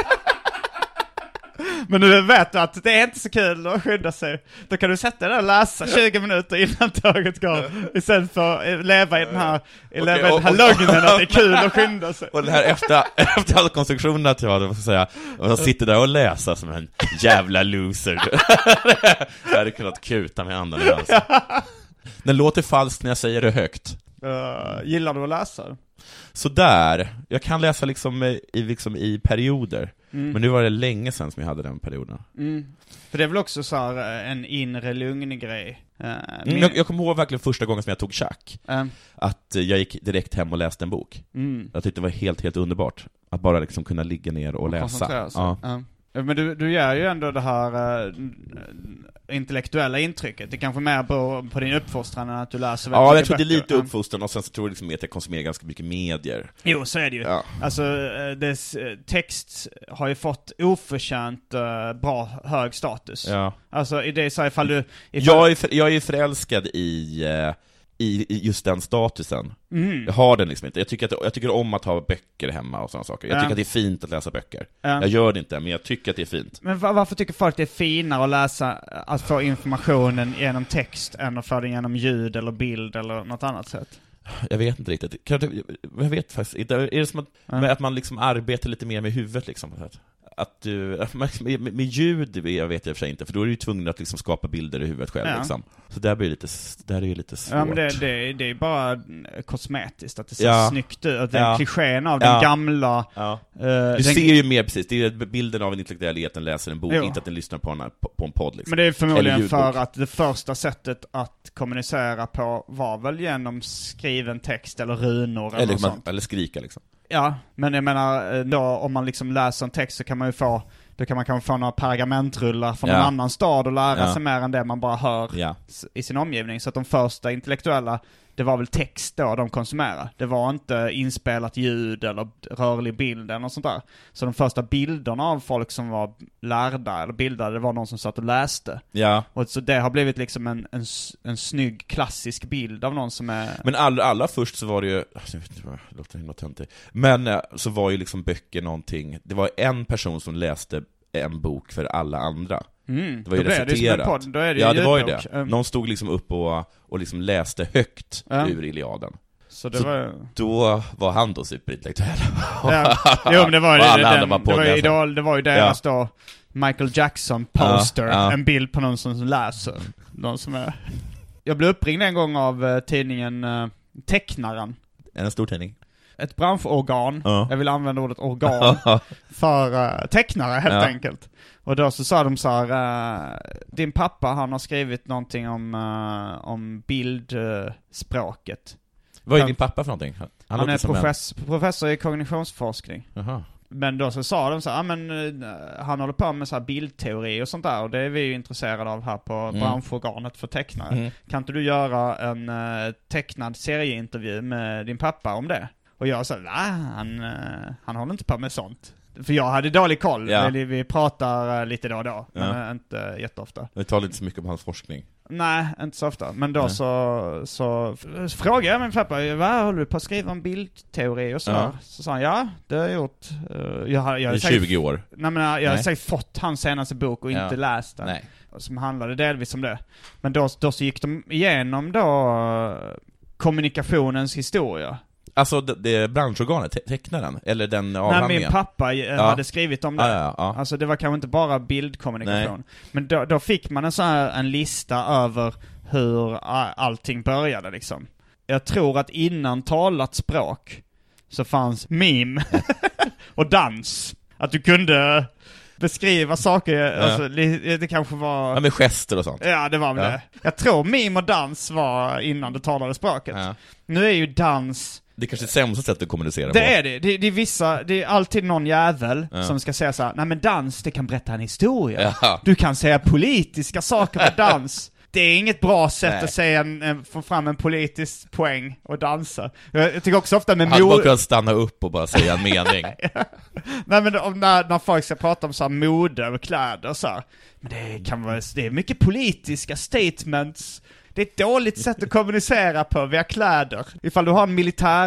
[SPEAKER 3] men nu vet du att det är inte så kul att skynda sig. Då kan du sätta dig där och läsa 20 minuter innan tåget går. Istället för att eh, leva i den här, leva i
[SPEAKER 2] och-
[SPEAKER 3] den här
[SPEAKER 2] och-
[SPEAKER 3] lögnen
[SPEAKER 2] [LAUGHS]
[SPEAKER 3] att det är kul att skynda sig.
[SPEAKER 2] Och den här efter, [LAUGHS] efterhandskonstruktionen att jag hade, vad ska jag säga, och jag sitter där och läser som en jävla loser. [LAUGHS] jag hade kunnat kuta med handen i
[SPEAKER 3] [LAUGHS]
[SPEAKER 2] halsen. Den låter falskt när jag säger det högt.
[SPEAKER 3] Eh, gillar du att läsa?
[SPEAKER 2] Sådär, jag kan läsa liksom i, i- liksom i perioder.
[SPEAKER 3] Mm.
[SPEAKER 2] Men nu var det länge sedan som jag hade den perioden.
[SPEAKER 3] För det är väl också så här eh, en inre lugn grej. Eh,
[SPEAKER 2] Mm,
[SPEAKER 3] min-
[SPEAKER 2] jag, jag kommer ihåg verkligen första gången som jag tog tjack,
[SPEAKER 3] eh,
[SPEAKER 2] att eh, jag gick direkt hem och läste en bok.
[SPEAKER 3] mm.
[SPEAKER 2] Jag tyckte det var helt, helt underbart. Att bara liksom kunna ligga ner och, läsa.
[SPEAKER 3] koncentrera sig.
[SPEAKER 2] Ja.
[SPEAKER 3] Ja. Men du, du gör ju ändå det här eh, intellektuella intrycket. Det kanske mer beror på din uppfostran än att du läser väldigt
[SPEAKER 2] Ja, jag
[SPEAKER 3] mycket
[SPEAKER 2] tror det är lite
[SPEAKER 3] böcker. Ja.
[SPEAKER 2] uppfostran och sen så tror jag liksom mer att jag konsumerar ganska mycket medier.
[SPEAKER 3] Jo, så är det ju.
[SPEAKER 2] Ja.
[SPEAKER 3] Alltså, eh, dess eh, text har ju fått oförtjänt eh, bra, hög status.
[SPEAKER 2] Ja.
[SPEAKER 3] Alltså, i det är så här, ifall du... Ifall,
[SPEAKER 2] Jag, är för, jag är förälskad i, eh, i, i just den statusen.
[SPEAKER 3] Mm.
[SPEAKER 2] Jag har den liksom inte. Jag tycker, att, jag tycker om att ha böcker hemma och sådana saker. Jag
[SPEAKER 3] Ja.
[SPEAKER 2] tycker att det är fint att läsa böcker.
[SPEAKER 3] Ja.
[SPEAKER 2] Jag gör det inte, men jag tycker att det är fint.
[SPEAKER 3] Men va- varför tycker folk det är finare att läsa, eh, att få informationen genom text än att få den genom ljud eller bild eller något annat sätt?
[SPEAKER 2] Jag vet inte riktigt. Kan du- Jag vet faktiskt inte. Är det som att, men att man liksom arbetar lite mer med huvudet liksom? på något sätt? Att du, [LAUGHS] att man- med, med ljud jag vet jag i och för sig inte, för då är du ju tvungen att liksom skapa bilder i huvudet själv
[SPEAKER 3] Ja.
[SPEAKER 2] liksom. Så där blir det lite, s- där är det lite svårt.
[SPEAKER 3] Ja, men det, det, det är bara eh, kosmetiskt, att det ser
[SPEAKER 2] Ja.
[SPEAKER 3] snyggt ut, att den
[SPEAKER 2] Ja.
[SPEAKER 3] klichén av
[SPEAKER 2] Ja.
[SPEAKER 3] den gamla...
[SPEAKER 2] Ja.
[SPEAKER 3] eh,
[SPEAKER 2] Du
[SPEAKER 3] den,
[SPEAKER 2] ser ju mer precis, det är bilden av en intellektuell i att den läser en bok,
[SPEAKER 3] Jo.
[SPEAKER 2] inte att den lyssnar på en, på en podd liksom.
[SPEAKER 3] men det är
[SPEAKER 2] Eller
[SPEAKER 3] förmodligen
[SPEAKER 2] ljudbok.
[SPEAKER 3] för att det första sättet att kommunicera på var väl genom skriven text eller runor eller,
[SPEAKER 2] eller,
[SPEAKER 3] något
[SPEAKER 2] man,
[SPEAKER 3] sånt.
[SPEAKER 2] eller skrika liksom.
[SPEAKER 3] Ja, men jag menar eh, då om man liksom läser en text så kan man ju få, då kan man kanske få några pergamentrullar från
[SPEAKER 2] Ja.
[SPEAKER 3] någon annan stad och lära
[SPEAKER 2] Ja.
[SPEAKER 3] sig mer än det man bara hör
[SPEAKER 2] Ja.
[SPEAKER 3] s- i sin omgivning. Så att de första intellektuella det var väl text då de konsumerade. Det var inte inspelat ljud eller rörlig bild eller något sånt där. Så de första bilderna av folk som var lärda eller bildade, det var någon som satt och läste.
[SPEAKER 2] Ja.
[SPEAKER 3] Och så det har blivit liksom en, en, s- en snygg klassisk bild av någon som är...
[SPEAKER 2] Men allra, allra först så var det ju, alltså, jag vet inte vad, det låter himla töntig, men eh, så var ju liksom böcker någonting, det var en person som läste en bok för alla andra. det var ju
[SPEAKER 3] Mm, då blev det ju som en
[SPEAKER 2] reciterat.
[SPEAKER 3] podd, då är det ju
[SPEAKER 2] ja, det var ju
[SPEAKER 3] ljudbok.
[SPEAKER 2] det.
[SPEAKER 3] Mm.
[SPEAKER 2] Någon stod liksom upp och, och liksom läste högt
[SPEAKER 3] Ja.
[SPEAKER 2] ur Iliaden.
[SPEAKER 3] Så det
[SPEAKER 2] så-
[SPEAKER 3] var
[SPEAKER 2] Då var han då superintellektuell.
[SPEAKER 3] Ja. Jo men det var ju
[SPEAKER 2] [LAUGHS] Och alla
[SPEAKER 3] den,
[SPEAKER 2] andra var
[SPEAKER 3] det var ju,
[SPEAKER 2] poddläsare.
[SPEAKER 3] idol, det var ju deras då Michael Jackson poster,
[SPEAKER 2] Ja, ja.
[SPEAKER 3] en bild på någon som läser. Någon som är... Jag blev uppringd en gång av eh, tidningen eh, Tecknaren.
[SPEAKER 2] En stor tidning.
[SPEAKER 3] Ett branschorgan,
[SPEAKER 2] Ja.
[SPEAKER 3] jag vill använda ordet organ, för eh, tecknare helt
[SPEAKER 2] Ja.
[SPEAKER 3] enkelt. Och då så sa de så här, eh, din pappa han har skrivit någonting om, eh, om bildspråket.
[SPEAKER 2] Vad är
[SPEAKER 3] Han-
[SPEAKER 2] din pappa för någonting? Han,
[SPEAKER 3] han
[SPEAKER 2] låter
[SPEAKER 3] är
[SPEAKER 2] som en-
[SPEAKER 3] profess- professor i kognitionsforskning.
[SPEAKER 2] Jaha.
[SPEAKER 3] Men då så sa de så här, "Ah, men eh, han håller på med så här bildteori och sånt där och det är vi ju intresserade av här på
[SPEAKER 2] Mm.
[SPEAKER 3] branschorganet för tecknare. Kan inte du göra en eh, tecknad serieintervju med din pappa om det? Och jag sa, nej han, eh, han håller inte på med sånt. För jag hade dålig koll,
[SPEAKER 2] Ja.
[SPEAKER 3] Eller vi pratar eh, lite då och då, men
[SPEAKER 2] Ja.
[SPEAKER 3] eh, inte jätteofta.
[SPEAKER 2] Vi talar inte så mycket om hans forskning.
[SPEAKER 3] Nej, inte så ofta. Men då så, så f- frågade jag min pappa, vad håller du på att skriva om bildteori och så?
[SPEAKER 2] Ja.
[SPEAKER 3] Så sa han, ja det har jag gjort. Eh, Jag, har- jag har
[SPEAKER 2] I
[SPEAKER 3] säkert-
[SPEAKER 2] 20 år.
[SPEAKER 3] Nej men jag jag har
[SPEAKER 2] Nej.
[SPEAKER 3] säkert fått hans senaste bok och
[SPEAKER 2] Ja.
[SPEAKER 3] inte läst den.
[SPEAKER 2] Nej.
[SPEAKER 3] Som handlade delvis om det. Men då, då så gick de igenom då eh, kommunikationens historia.
[SPEAKER 2] Alltså det, det branschorganet, te- tecknaren, eller den
[SPEAKER 3] När
[SPEAKER 2] avhandlingen?
[SPEAKER 3] min pappa eh, hade skrivit om det.
[SPEAKER 2] Ja, ja, ja.
[SPEAKER 3] Alltså det var kanske inte bara bildkommunikation. Men då, då fick man en sån här en lista över hur a- allting började liksom. Jag tror att innan talat språk så fanns meme [LAUGHS] och dans. Att du kunde beskriva saker, alltså, li- det kanske var...
[SPEAKER 2] Ja, med gester och sånt.
[SPEAKER 3] Ja, det var väl
[SPEAKER 2] Ja.
[SPEAKER 3] det. Jag tror meme och dans var innan det talade språket.
[SPEAKER 2] Ja.
[SPEAKER 3] Nu är ju dans
[SPEAKER 2] Det är kanske det sämsta sättet att kommunicera på.
[SPEAKER 3] det är det. det. Det är vissa, det är alltid någon jävel som ska säga så här: nej men dans, det kan berätta en historia.
[SPEAKER 2] Ja.
[SPEAKER 3] Du kan säga politiska saker med dans. Det är inget bra sätt
[SPEAKER 2] Nej.
[SPEAKER 3] att säga en, en, få fram en politisk poäng och dansa. Jag, jag tycker också ofta med
[SPEAKER 2] Hade
[SPEAKER 3] mo-
[SPEAKER 2] bara kunnat stanna upp och bara säga en mening.
[SPEAKER 3] [LAUGHS] Nej men om, när, när folk ska prata om så här mode och kläder och så här. Men det kan vara, det är mycket politiska statements. Det är ett dåligt sätt att kommunicera på via kläder. Ifall du har en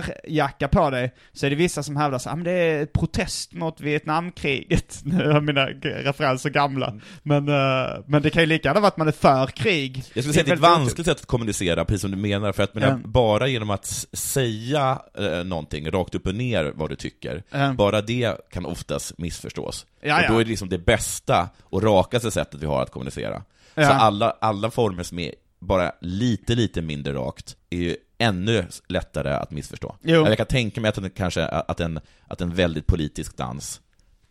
[SPEAKER 3] militärjacka på dig så är det vissa som hävdar så här, "Ah, men det är protest mot Vietnamkriget. [LAUGHS] Nu är mina g- referenser gamla. Men, eh, men det kan ju lika gärna vara att man är för krig.
[SPEAKER 2] Jag skulle säga att det är ett
[SPEAKER 3] väldigt-
[SPEAKER 2] vanskligt sätt att kommunicera, precis som du menar, för att men,
[SPEAKER 3] Mm.
[SPEAKER 2] bara genom att s- säga eh, någonting rakt upp och ner vad du tycker,
[SPEAKER 3] Mm.
[SPEAKER 2] bara det kan oftast missförstås.
[SPEAKER 3] Ja, ja.
[SPEAKER 2] Och då är det liksom det bästa och rakaste sättet vi har att kommunicera.
[SPEAKER 3] Ja.
[SPEAKER 2] Så alla, alla former som är bara lite, lite mindre rakt är ju ännu lättare att missförstå.
[SPEAKER 3] Jo.
[SPEAKER 2] Jag kan tänka mig att, en, kanske, att, en, att en väldigt politisk dans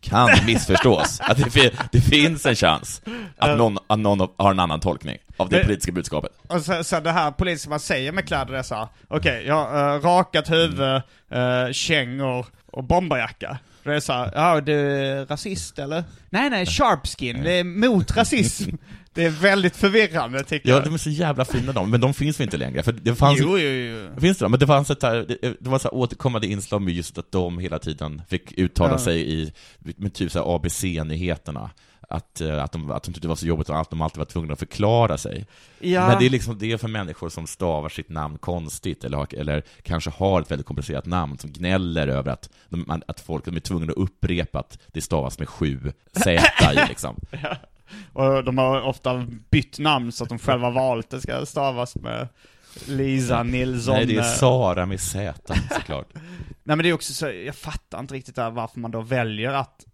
[SPEAKER 2] kan [LAUGHS] missförstås. att det, fi- det finns en chans att någon, att någon har en annan tolkning av det
[SPEAKER 3] Men-
[SPEAKER 2] politiska budskapet.
[SPEAKER 3] Och sen, sen det här polisen man säger med kläder det är såhär, okej jag har eh, rakat huvud, eh, kängor och bomberjacka. Då är det såhär, ja du är rasist eller? Nej nej, sharpskin, det är mot
[SPEAKER 2] [LAUGHS]
[SPEAKER 3] rasism. Det är väldigt förvirrande tycker
[SPEAKER 2] Ja,
[SPEAKER 3] jag.
[SPEAKER 2] de är så jävla fina de, men de finns väl inte längre? För det fanns,
[SPEAKER 3] Jo, jo, jo.
[SPEAKER 2] Finns det då? Men det fanns ett här, det, det var så här återkommande inslag med just att de hela tiden fick uttala sig i, med typ så här ABC-nyheterna. Att, eh, att, de, att de tyckte det var så jobbigt och att de alltid var tvungna att förklara sig.
[SPEAKER 3] Ja.
[SPEAKER 2] Men det är liksom det är för människor som stavar sitt namn konstigt, eller, har, eller kanske har ett väldigt komplicerat namn, som gnäller över att, de, man- att folk de är tvungna att upprepa att det stavas med sju Z i
[SPEAKER 3] [LAUGHS]
[SPEAKER 2] liksom.
[SPEAKER 3] Och de har ofta bytt namn så att de själva valt det ska stavas med Lisa Nilsson.
[SPEAKER 2] Nej, det är
[SPEAKER 3] eh,
[SPEAKER 2] Sara med Z såklart.
[SPEAKER 3] Nej men det är också så, jag fattar inte riktigt där varför man då väljer att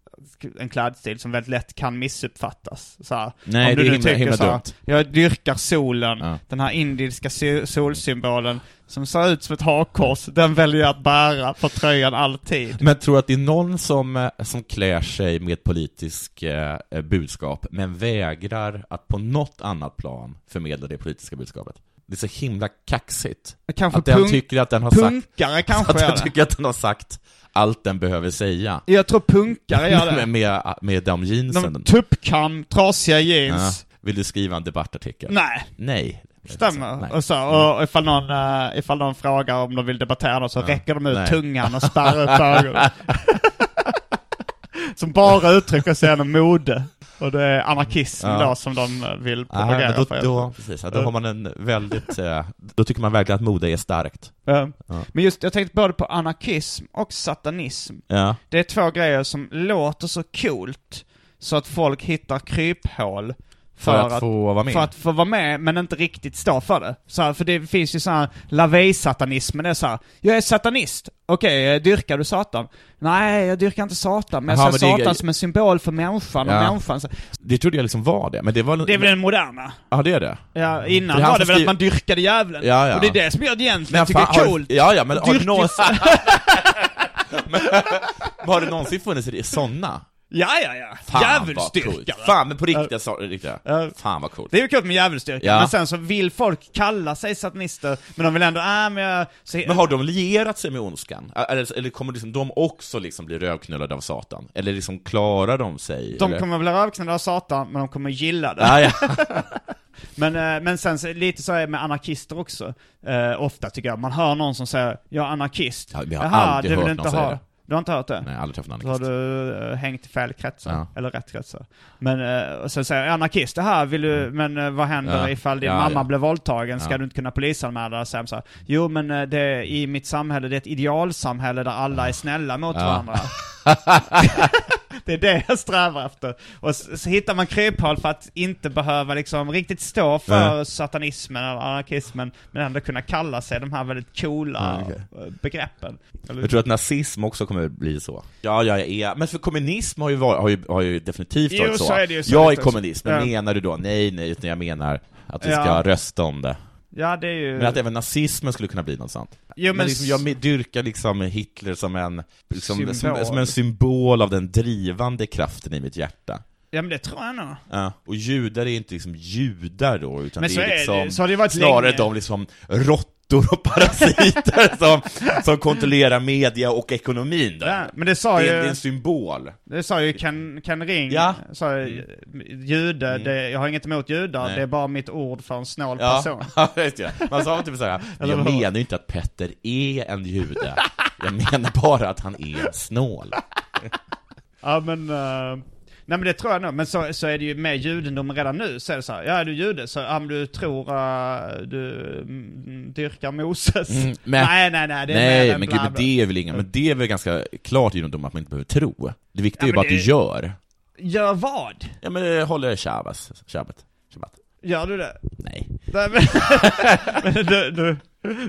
[SPEAKER 3] en klädstil som väldigt lätt kan missuppfattas. Så här,
[SPEAKER 2] Nej,
[SPEAKER 3] om du
[SPEAKER 2] det är
[SPEAKER 3] nu
[SPEAKER 2] himla-
[SPEAKER 3] tycker
[SPEAKER 2] himla
[SPEAKER 3] så här,
[SPEAKER 2] dumt.
[SPEAKER 3] Jag dyrkar solen,
[SPEAKER 2] Ja.
[SPEAKER 3] den här indiska so- solsymbolen som ser ut som ett hakkors, den väljer jag att bära på tröjan alltid.
[SPEAKER 2] Men tror du att det är någon som, eh, som klär sig med ett politiskt eh, budskap, men vägrar att på något annat plan förmedla det politiska budskapet? Det är så himla kaxigt.
[SPEAKER 3] Kanske
[SPEAKER 2] att den
[SPEAKER 3] punk-
[SPEAKER 2] tycker att den har sagt...
[SPEAKER 3] Punkare kanske
[SPEAKER 2] [LAUGHS] Att
[SPEAKER 3] gör
[SPEAKER 2] den
[SPEAKER 3] det.
[SPEAKER 2] tycker att den har sagt allt den behöver säga.
[SPEAKER 3] Jag tror punkare gör
[SPEAKER 2] [LAUGHS] med,
[SPEAKER 3] det.
[SPEAKER 2] med, med de jeansen.
[SPEAKER 3] De tuppkam, trasiga
[SPEAKER 2] Ja.
[SPEAKER 3] jeans.
[SPEAKER 2] Vill du skriva en debattartikel?
[SPEAKER 3] Nej.
[SPEAKER 2] Nej.
[SPEAKER 3] Stämmer.
[SPEAKER 2] Nej. Mm.
[SPEAKER 3] och, så, och ifall, någon, eh, ifall någon frågar om de vill debattera något så räcker de ut
[SPEAKER 2] Nej. [LAUGHS]
[SPEAKER 3] tungan och spärrar upp ögonen. [LAUGHS] som bara uttrycker sig genom mode. Och det är anarkism
[SPEAKER 2] Ja.
[SPEAKER 3] då som de eh, vill
[SPEAKER 2] Ah, men
[SPEAKER 3] propagera
[SPEAKER 2] då,
[SPEAKER 3] för.
[SPEAKER 2] då, precis, ja, då har man en väldigt, eh, då tycker man verkligen att mode är starkt.
[SPEAKER 3] Eh,
[SPEAKER 2] Ja.
[SPEAKER 3] Men just, jag tänkte både på anarkism och satanism.
[SPEAKER 2] Ja.
[SPEAKER 3] Det är två grejer som låter så coolt så att folk hittar kryphål för,
[SPEAKER 2] att få vara med.
[SPEAKER 3] För att få vara med, men inte riktigt stå för det. Så här, för det finns ju såhär, lavej-satanismen är såhär, jag är satanist, okej, eh, dyrkar du Satan? Nej, jag dyrkar inte Satan, men
[SPEAKER 2] Jaha,
[SPEAKER 3] jag ser
[SPEAKER 2] men det är-
[SPEAKER 3] Satan som en symbol för människan och
[SPEAKER 2] Ja.
[SPEAKER 3] människan. så-
[SPEAKER 2] Det trodde jag liksom var det, men det var...
[SPEAKER 3] Det är väl den moderna?
[SPEAKER 2] Ja, det är det.
[SPEAKER 3] Ja,
[SPEAKER 2] Mm. För
[SPEAKER 3] innan
[SPEAKER 2] det är han
[SPEAKER 3] var det väl
[SPEAKER 2] som
[SPEAKER 3] att
[SPEAKER 2] skriver-
[SPEAKER 3] man dyrkade djävulen?
[SPEAKER 2] Ja, ja.
[SPEAKER 3] Och det är det som jag egentligen tycker
[SPEAKER 2] fan,
[SPEAKER 3] är
[SPEAKER 2] har-
[SPEAKER 3] coolt.
[SPEAKER 2] Ja, ja, men har du
[SPEAKER 3] Dyrka-
[SPEAKER 2] någonsin...
[SPEAKER 3] [LAUGHS]
[SPEAKER 2] men, men har det någonsin funnits sådana?
[SPEAKER 3] Ja, ja, ja.
[SPEAKER 2] Fan vad coolt.
[SPEAKER 3] Djävulsdyrkare.
[SPEAKER 2] Fan, men på riktiga så, riktiga.
[SPEAKER 3] Ja.
[SPEAKER 2] Fan vad coolt.
[SPEAKER 3] Det är ju kul med djävulsdyrkan,
[SPEAKER 2] Ja.
[SPEAKER 3] men sen så vill folk kalla sig satanister, men de vill ändå, äh, men jag... Så,
[SPEAKER 2] Men har de lierat sig med ondskan? Eller, eller kommer liksom de också liksom bli rövknullade av Satan? Eller liksom klarar de sig?
[SPEAKER 3] de
[SPEAKER 2] eller?
[SPEAKER 3] kommer väl rövknulla av Satan, men de kommer gilla det.
[SPEAKER 2] Ja, ja.
[SPEAKER 3] Men, eh, men sen så, lite så är det med anarkister också. Eh, ofta tycker jag, man hör någon som säger 'Jag är anarkist'
[SPEAKER 2] Ja, vi har aldrig hört någon säga det.
[SPEAKER 3] Du har inte hört det?
[SPEAKER 2] [LAUGHS] Nej, aldrig träffat en
[SPEAKER 3] Då har
[SPEAKER 2] anarkist.
[SPEAKER 3] du eh, hängt i fel kretsar,
[SPEAKER 2] Ja.
[SPEAKER 3] eller rätt kretsar. Men eh, och sen säger jag, anarkist, det här vill du, men eh, vad händer
[SPEAKER 2] Mm. Ja.
[SPEAKER 3] ifall din
[SPEAKER 2] Ja,
[SPEAKER 3] mamma
[SPEAKER 2] ja.
[SPEAKER 3] blir våldtagen? Ska
[SPEAKER 2] Ja.
[SPEAKER 3] du inte kunna polisanmäla det? Sen så här, jo men eh, det, är- i mitt samhälle, det är ett idealsamhälle där alla är snälla mot
[SPEAKER 2] [LAUGHS]
[SPEAKER 3] varandra. [LAUGHS] det är det jag strävar efter. Och s- så hittar man kryphål för att inte behöva liksom riktigt stå för
[SPEAKER 2] Nej.
[SPEAKER 3] satanismen eller anarkismen, men ändå kunna kalla sig de här väldigt coola
[SPEAKER 2] Ja,
[SPEAKER 3] eh, begreppen. Eller-
[SPEAKER 2] Jag tror att nazism också kommer bli så. Ja, jag är... Men för kommunism har ju, var, har ju, har ju definitivt
[SPEAKER 3] Jo,
[SPEAKER 2] varit så.
[SPEAKER 3] så är det ju, så är
[SPEAKER 2] jag
[SPEAKER 3] det
[SPEAKER 2] är
[SPEAKER 3] också.
[SPEAKER 2] kommunist, men
[SPEAKER 3] Ja.
[SPEAKER 2] menar du då? Nej, nej, utan jag menar att vi
[SPEAKER 3] Ja.
[SPEAKER 2] ska rösta om det.
[SPEAKER 3] Ja, det är ju...
[SPEAKER 2] Men att även nazismen skulle kunna bli något sånt.
[SPEAKER 3] Jo,
[SPEAKER 2] men
[SPEAKER 3] men
[SPEAKER 2] liksom,
[SPEAKER 3] s-
[SPEAKER 2] jag dyrkar liksom Hitler som en, liksom, som,
[SPEAKER 3] Symbol.
[SPEAKER 2] som en symbol av den drivande kraften i mitt hjärta.
[SPEAKER 3] Ja men det tror jag nog.
[SPEAKER 2] Ja, och judar är inte liksom judar då, utan
[SPEAKER 3] Men
[SPEAKER 2] det
[SPEAKER 3] så
[SPEAKER 2] är
[SPEAKER 3] är det.
[SPEAKER 2] liksom
[SPEAKER 3] Så har det varit
[SPEAKER 2] snarare
[SPEAKER 3] länge.
[SPEAKER 2] de liksom råttor och [LAUGHS] parasiter som, som kontrollerar media och ekonomin där.
[SPEAKER 3] Ja, men det sa
[SPEAKER 2] det, är,
[SPEAKER 3] ju-
[SPEAKER 2] det är en symbol.
[SPEAKER 3] Det sa ju Ken, Ken Ring,
[SPEAKER 2] Ja. Mm.
[SPEAKER 3] sa ju, jude, det, jag har inget emot judar,
[SPEAKER 2] Nej.
[SPEAKER 3] det är bara mitt ord för en snål person.
[SPEAKER 2] [LAUGHS] Ja, vet jag. Man
[SPEAKER 3] [LAUGHS]
[SPEAKER 2] sa typ såhär, men jag
[SPEAKER 3] Eller vad?
[SPEAKER 2] menar ju inte att Petter är en jude, jag menar bara att han är
[SPEAKER 3] [LAUGHS]
[SPEAKER 2] snål.
[SPEAKER 3] Ja men, eh, nej men det tror jag nog, men så, så är det ju med judendomen redan nu, så är det så här, ja är du jude, så ja, men du tror, eh, du mm, dyrkar Moses.
[SPEAKER 2] Mm, men-
[SPEAKER 3] nej nej nej, det är
[SPEAKER 2] Nej,
[SPEAKER 3] mer än
[SPEAKER 2] men
[SPEAKER 3] bla,
[SPEAKER 2] gud, men
[SPEAKER 3] bla.
[SPEAKER 2] det är väl inga, men det är väl ganska klart judendom att man inte behöver tro. Det viktiga är ju
[SPEAKER 3] men
[SPEAKER 2] bara att du
[SPEAKER 3] det-
[SPEAKER 2] gör.
[SPEAKER 3] Gör vad?
[SPEAKER 2] Ja men eh, håller shabbas, shabbat, shabbat.
[SPEAKER 3] Gör du det?
[SPEAKER 2] Nej.
[SPEAKER 3] Nej, men, [LAUGHS] men du, du,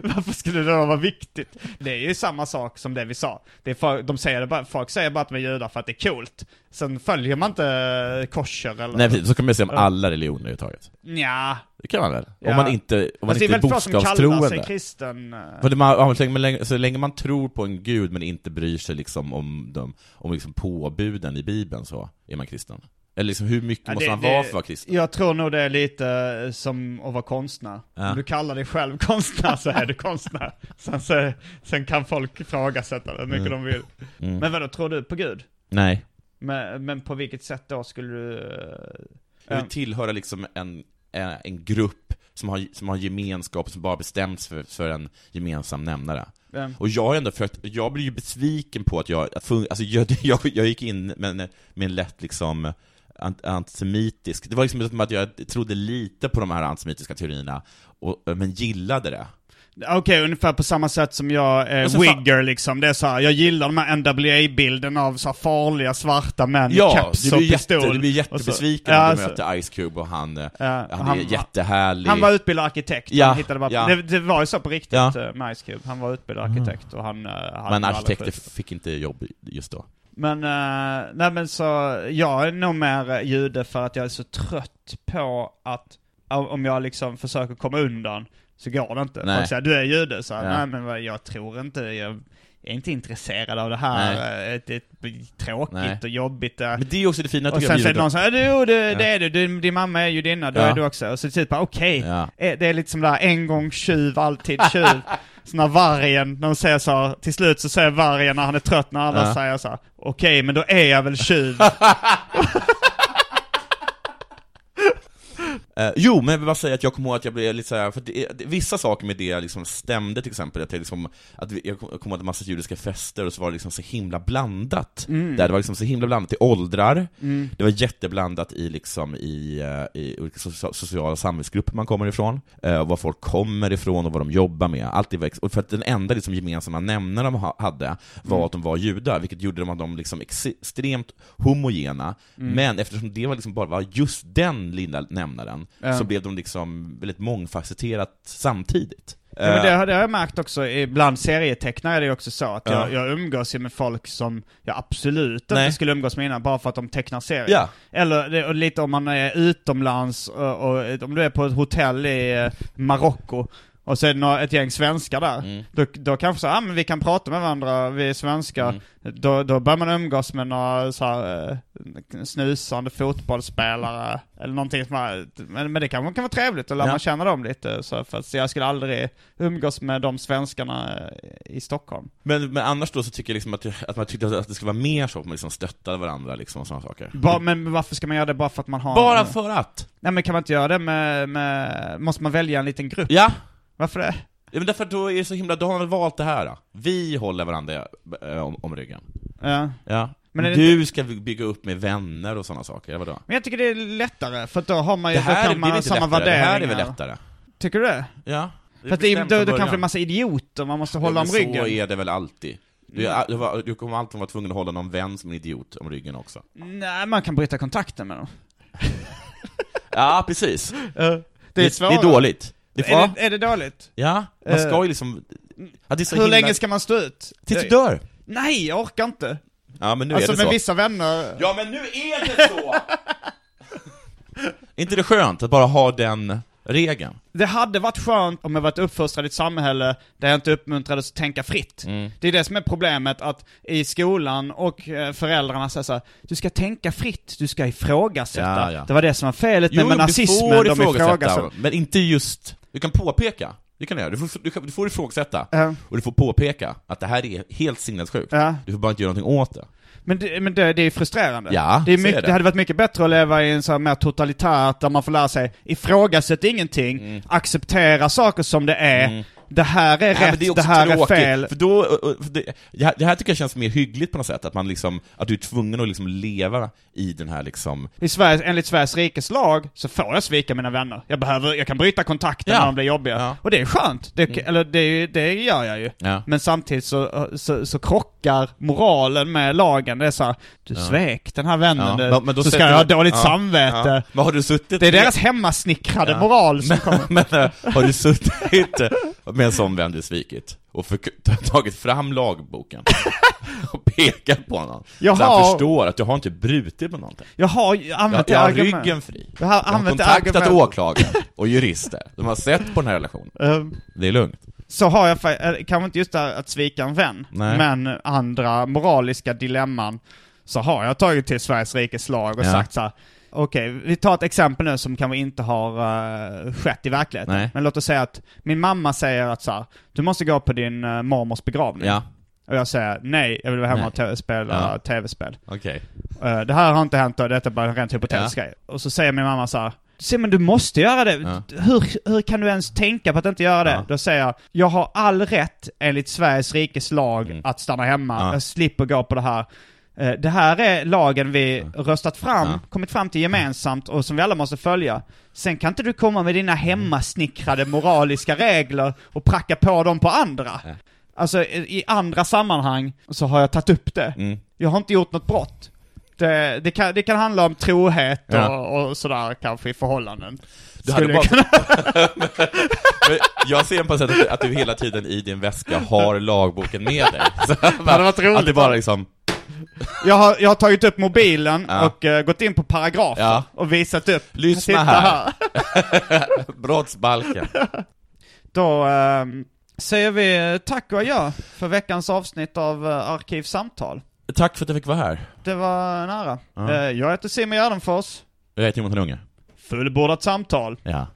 [SPEAKER 3] varför skulle det då vara viktigt? Det är ju samma sak som det vi sa. Det är folk, de säger det bara, folk säger bara att de är judar för att det är coolt. Sen följer man inte kosher eller...
[SPEAKER 2] Nej precis, så kan man säga om alla religioner överhuvudtaget.
[SPEAKER 3] Nja.
[SPEAKER 2] Det kan man väl?
[SPEAKER 3] Ja.
[SPEAKER 2] Om man inte, om man
[SPEAKER 3] Fast det är
[SPEAKER 2] inte är
[SPEAKER 3] väldigt få som kallar sig
[SPEAKER 2] bokstavstroende.
[SPEAKER 3] kristen. eh,
[SPEAKER 2] För det man, man, tänker, men länge- så länge man tror på en gud men inte bryr sig liksom om, de, om liksom påbuden i bibeln så är man kristen. Eller liksom hur mycket
[SPEAKER 3] Ja,
[SPEAKER 2] måste
[SPEAKER 3] det-
[SPEAKER 2] man
[SPEAKER 3] det-
[SPEAKER 2] vara för att vara kristen?
[SPEAKER 3] Jag tror nog det är lite eh, som att vara konstnär.
[SPEAKER 2] Ja.
[SPEAKER 3] Om du kallar dig själv [LAUGHS] konstnär så är du konstnär. Sen, så, sen kan folk ifrågasätta det hur
[SPEAKER 2] Mm.
[SPEAKER 3] mycket de vill. Men vadå, tror du på Gud?
[SPEAKER 2] Nej.
[SPEAKER 3] Men, men på vilket sätt då skulle du... eh,
[SPEAKER 2] Jag
[SPEAKER 3] Ja.
[SPEAKER 2] vill tillhöra liksom en, eh, en grupp som har, som har gemenskap som bara bestäms för, för en gemensam nämnare.
[SPEAKER 3] Ja.
[SPEAKER 2] Och jag har ändå försökt, jag blir ju besviken på att jag, att fun, alltså jag, [LAUGHS] jag, jag gick in med, en- med en lätt liksom ant- antisemitisk, det var liksom som att jag trodde lite på de här antisemitiska teorierna, och, men gillade det.
[SPEAKER 3] Okej, ungefär på samma sätt som jag är
[SPEAKER 2] Och så fan-
[SPEAKER 3] wigger liksom. Det är så här, jag gillar de här NWA-bilden av så här farliga svarta män i
[SPEAKER 2] Ja,
[SPEAKER 3] keps
[SPEAKER 2] du blir,
[SPEAKER 3] och
[SPEAKER 2] jätte,
[SPEAKER 3] pistol.
[SPEAKER 2] du blir
[SPEAKER 3] Och så-
[SPEAKER 2] jättebesviken
[SPEAKER 3] Ja,
[SPEAKER 2] när du
[SPEAKER 3] så-
[SPEAKER 2] möter Ice Cube och han, eh, han,
[SPEAKER 3] han-
[SPEAKER 2] är jättehärlig.
[SPEAKER 3] Han var utbildad arkitekt,
[SPEAKER 2] Ja,
[SPEAKER 3] han hittade bara
[SPEAKER 2] ja.
[SPEAKER 3] det, det var ju så på riktigt
[SPEAKER 2] Ja. Mm.
[SPEAKER 3] eh, med Ice Cube. Han var utbildad arkitekt och han... eh, hade
[SPEAKER 2] men
[SPEAKER 3] alla
[SPEAKER 2] arkitekter
[SPEAKER 3] skit.
[SPEAKER 2] fick inte jobb just då.
[SPEAKER 3] Men, eh, nej men så, jag är nog mer eh, jude för att jag är så trött på att, o- om jag liksom försöker komma undan, så går det inte.
[SPEAKER 2] Nej.
[SPEAKER 3] Folk säger du är jude, så här,
[SPEAKER 2] Ja.
[SPEAKER 3] nej men vad, jag tror inte, jag är inte intresserad av det här, eh, det är tråkigt
[SPEAKER 2] Nej.
[SPEAKER 3] och jobbigt. eh."
[SPEAKER 2] Men det är också det fina
[SPEAKER 3] och
[SPEAKER 2] tycker jag
[SPEAKER 3] sen
[SPEAKER 2] med
[SPEAKER 3] säger
[SPEAKER 2] judendom.
[SPEAKER 3] någon så här, jo det, det är du, din, din mamma är judinna, då
[SPEAKER 2] Ja.
[SPEAKER 3] är du också. Och så typ bara, okej,
[SPEAKER 2] Ja.
[SPEAKER 3] eh, det är lite som det här, en gång tjuv, alltid
[SPEAKER 2] [LAUGHS]
[SPEAKER 3] tjuv. så när vargen, de säger så här, till slut så säger vargen när han är trött när alla
[SPEAKER 2] Ja.
[SPEAKER 3] säger så här, okej men då
[SPEAKER 2] [LAUGHS]
[SPEAKER 3] är jag väl tjuv.
[SPEAKER 2] Eh, jo, men jag vill bara säga att jag kommer ihåg att jag blev lite såhär, för det, det, vissa saker med det liksom stämde till exempel, att jag liksom, att vi, jag kom- jag kommer ihåg att massa judiska fester och så var det liksom så himla blandat. Där det var liksom så himla blandat i åldrar, det var jätteblandat i liksom i, eh, i olika socia- sociala samhällsgrupper man kommer ifrån, eh, och var folk kommer ifrån och vad de jobbar med. Allt det var, ex- och för att den enda liksom gemensamma nämnaren de ha- hade var
[SPEAKER 3] Mm.
[SPEAKER 2] att de var judar, vilket gjorde dem att de liksom ex- extremt homogena,
[SPEAKER 3] Mm.
[SPEAKER 2] men eftersom det var liksom bara var just den lilla nämnaren, så blev de liksom väldigt mångfacetterat samtidigt.
[SPEAKER 3] Ja, men det,
[SPEAKER 2] Eh,
[SPEAKER 3] har- det har jag märkt också, ibland serietecknare är det ju också så att jag,
[SPEAKER 2] Ja.
[SPEAKER 3] jag umgås ju med folk som jag absolut
[SPEAKER 2] Nej.
[SPEAKER 3] inte skulle umgås med innan, bara för att de tecknar serier.
[SPEAKER 2] Ja.
[SPEAKER 3] Eller det, och lite om man är utomlands, eh, och, och om du är på ett hotell i eh, Marocko och så är det några, ett gäng svenskar där.
[SPEAKER 2] Mm.
[SPEAKER 3] Då, då kanske så, ja ah, men vi kan prata med varandra, vi är svenskar.
[SPEAKER 2] Mm.
[SPEAKER 3] Då, då börjar man umgås med några så här, eh, snusande fotbollsspelare eller någonting som är, men, men det kan, kan vara trevligt att lära
[SPEAKER 2] Ja.
[SPEAKER 3] man känna dem lite så, för att, så jag skulle aldrig umgås med de svenskarna eh, i Stockholm.
[SPEAKER 2] men, men annars då så tycker jag liksom att, att man tyckte att det skulle vara mer så, att man liksom stöttade varandra liksom och sådana saker.
[SPEAKER 3] Bara, men varför ska man göra det bara för att man har...
[SPEAKER 2] Bara för att!
[SPEAKER 3] Nej men kan man inte göra det med, med... Måste man välja en liten grupp?
[SPEAKER 2] Ja!
[SPEAKER 3] Varför det?
[SPEAKER 2] Ja, Men därför att då är det så himla, då har man väl valt det här. Då. Vi håller varandra eh, om, om ryggen.
[SPEAKER 3] Ja.
[SPEAKER 2] Ja.
[SPEAKER 3] Men är det
[SPEAKER 2] du ska bygga upp med vänner och sådana saker, ja, vadå?
[SPEAKER 3] Men jag tycker det är lättare, för att då har man ju,
[SPEAKER 2] Det här,
[SPEAKER 3] då
[SPEAKER 2] är-
[SPEAKER 3] kan
[SPEAKER 2] det är
[SPEAKER 3] man
[SPEAKER 2] väl
[SPEAKER 3] ha
[SPEAKER 2] inte
[SPEAKER 3] samma
[SPEAKER 2] lättare? det
[SPEAKER 3] värderingar.
[SPEAKER 2] här är väl lättare?
[SPEAKER 3] Tycker du det?
[SPEAKER 2] Ja. är
[SPEAKER 3] För att det, är-
[SPEAKER 2] bestämt
[SPEAKER 3] då,
[SPEAKER 2] från
[SPEAKER 3] då
[SPEAKER 2] början.
[SPEAKER 3] kanske det är massa idioter man måste hålla
[SPEAKER 2] Ja,
[SPEAKER 3] om
[SPEAKER 2] men
[SPEAKER 3] ryggen. Mm.
[SPEAKER 2] Så är det väl alltid. Du, du, var- du kommer alltid vara tvungen att hålla någon vän som en idiot om ryggen också.
[SPEAKER 3] Nej, man kan bryta kontakten med dem.
[SPEAKER 2] Ja, precis.
[SPEAKER 3] Det är svårare.
[SPEAKER 2] dåligt. Det får,
[SPEAKER 3] Är det, är det dåligt?
[SPEAKER 2] ja, man ska
[SPEAKER 3] Eh,
[SPEAKER 2] ju liksom... Ja, det är så
[SPEAKER 3] Hur
[SPEAKER 2] himla-
[SPEAKER 3] länge ska man stå ut?
[SPEAKER 2] Tills du dör!
[SPEAKER 3] Nej, jag orkar inte.
[SPEAKER 2] Ja, men nu
[SPEAKER 3] alltså
[SPEAKER 2] är det
[SPEAKER 3] med
[SPEAKER 2] så.
[SPEAKER 3] vissa vänner...
[SPEAKER 2] Ja, men nu är det
[SPEAKER 3] [LAUGHS]
[SPEAKER 2] så! Är inte det skönt att bara ha den regeln?
[SPEAKER 3] Det hade varit skönt om jag varit uppfostrad i ett samhälle där jag inte uppmuntrades att tänka fritt.
[SPEAKER 2] Mm.
[SPEAKER 3] Det är det som är problemet, att i skolan och eh, föräldrarna säger såhär, du ska tänka fritt, du ska ifrågasätta.
[SPEAKER 2] Ja, ja.
[SPEAKER 3] Det var det som var felet
[SPEAKER 2] Jo,
[SPEAKER 3] med, med
[SPEAKER 2] du
[SPEAKER 3] nazismen,
[SPEAKER 2] får
[SPEAKER 3] de
[SPEAKER 2] ifrågasätta,
[SPEAKER 3] ifrågasätter.
[SPEAKER 2] men inte just... Du kan påpeka. Du kan göra. Du får, du kan, du får ifrågasätta,
[SPEAKER 3] Ja.
[SPEAKER 2] och du får påpeka att det här är helt sinnessjukt.
[SPEAKER 3] Ja.
[SPEAKER 2] Du får bara inte göra någonting åt det.
[SPEAKER 3] Men, det, men det, det är frustrerande.
[SPEAKER 2] Ja,
[SPEAKER 3] det, är
[SPEAKER 2] så
[SPEAKER 3] mycket,
[SPEAKER 2] är det.
[SPEAKER 3] det hade varit mycket bättre att leva i en sån här mer totalitärt, där man får lära sig ifrågasätt ingenting, acceptera saker som det är, det här är
[SPEAKER 2] Nej,
[SPEAKER 3] rätt,
[SPEAKER 2] Mm. men
[SPEAKER 3] det,
[SPEAKER 2] också
[SPEAKER 3] här är
[SPEAKER 2] tråkigt,
[SPEAKER 3] fel.
[SPEAKER 2] För då, för det, det, här, det här tycker jag känns mer hyggligt på något sätt, att man liksom, att du är tvungen att liksom leva i den här liksom...
[SPEAKER 3] I Sverige, enligt Sveriges rikes lag så får jag svika mina vänner. Jag, behöver, jag kan bryta kontakten
[SPEAKER 2] Ja.
[SPEAKER 3] när de blir jobbiga.
[SPEAKER 2] Ja. Mm.
[SPEAKER 3] Och det är skönt. Det, Eller det, det gör jag ju.
[SPEAKER 2] Ja.
[SPEAKER 3] Men samtidigt så, så, så krockar moralen med lagen. Det är såhär, du svek den här vännen du, så ska
[SPEAKER 2] sätter-
[SPEAKER 3] jag ha dåligt
[SPEAKER 2] ja,
[SPEAKER 3] samvete.
[SPEAKER 2] ja. Men har du suttit...
[SPEAKER 3] Det är
[SPEAKER 2] med-
[SPEAKER 3] deras hemmasnickrade moral som kommer.
[SPEAKER 2] [LAUGHS] Men äh, har du suttit eh, med en sån vän du svikit och för, tagit fram lagboken [LAUGHS] och pekat på honom?
[SPEAKER 3] Jag
[SPEAKER 2] så han
[SPEAKER 3] har-
[SPEAKER 2] förstår att du har inte brutit på någonting.
[SPEAKER 3] Jag har ju
[SPEAKER 2] Jag,
[SPEAKER 3] använt
[SPEAKER 2] jag har
[SPEAKER 3] det argument.
[SPEAKER 2] ryggen fri.
[SPEAKER 3] Jag har
[SPEAKER 2] Jag har
[SPEAKER 3] använt det
[SPEAKER 2] kontaktat
[SPEAKER 3] argument.
[SPEAKER 2] åklagare och jurister. De har sett på den här relationen.
[SPEAKER 3] Ehm,
[SPEAKER 2] Det är lugnt.
[SPEAKER 3] Så har jag, fa- eh, kanske inte just det här att svika en vän,
[SPEAKER 2] Nej.
[SPEAKER 3] men andra moraliska dilemman så har jag tagit till Sveriges rikes lag och
[SPEAKER 2] Ja.
[SPEAKER 3] sagt så här. Okej, vi tar ett exempel nu som kanske inte har eh, skett i verkligheten.
[SPEAKER 2] Nej.
[SPEAKER 3] Men låt oss säga att min mamma säger att så här, du måste gå på din uh, mormors begravning.
[SPEAKER 2] Ja,
[SPEAKER 3] Och jag säger nej, jag vill vara hemma
[SPEAKER 2] Nej.
[SPEAKER 3] och te- spela
[SPEAKER 2] Ja.
[SPEAKER 3] tv-spel.
[SPEAKER 2] okej.
[SPEAKER 3] Eh, det här har inte hänt och detta är bara en rent hypotetisk
[SPEAKER 2] Ja.
[SPEAKER 3] grej. Och så säger min mamma så här. Se men du måste göra det.
[SPEAKER 2] Ja.
[SPEAKER 3] Hur, hur kan du ens tänka på att inte göra det?
[SPEAKER 2] Ja.
[SPEAKER 3] Då säger jag, jag har all rätt enligt Sveriges rikes lag
[SPEAKER 2] Mm.
[SPEAKER 3] att stanna hemma.
[SPEAKER 2] Ja.
[SPEAKER 3] Jag slipper gå på det här. Eh, Det här är lagen vi röstat fram,
[SPEAKER 2] Ja.
[SPEAKER 3] kommit fram till gemensamt och som vi alla måste följa. Sen kan inte du komma med dina hemmasnickrade moraliska regler och pracka på dem på andra. Alltså i i andra sammanhang så har jag tagit upp det.
[SPEAKER 2] Mm.
[SPEAKER 3] Jag har inte gjort något brott. Det, det, kan, det kan handla om trohet och,
[SPEAKER 2] Ja.
[SPEAKER 3] och sådär kanske i förhållanden.
[SPEAKER 2] Du hade
[SPEAKER 3] Skulle
[SPEAKER 2] bara...
[SPEAKER 3] jag kunna-
[SPEAKER 2] Men jag ser på sätt att, att du hela tiden i din väska har lagboken med dig. Så det
[SPEAKER 3] hade varit roligt.
[SPEAKER 2] Att det bara liksom,
[SPEAKER 3] jag, har, jag har tagit upp mobilen
[SPEAKER 2] Ja.
[SPEAKER 3] och eh, gått in på paragrafer
[SPEAKER 2] Ja.
[SPEAKER 3] och visat upp.
[SPEAKER 2] Lyssna
[SPEAKER 3] Titta
[SPEAKER 2] här. brottsbalken.
[SPEAKER 3] Då eh, säger vi eh, tack och adjö för veckans avsnitt av eh, Arkivsamtal.
[SPEAKER 2] Tack för att jag fick vara här.
[SPEAKER 3] Det var nära.
[SPEAKER 2] Ja.
[SPEAKER 3] Eh, jag heter Simon Gärdenfors.
[SPEAKER 2] Jag heter Jonathan Unge.
[SPEAKER 3] Fullbordat samtal.
[SPEAKER 2] Ja.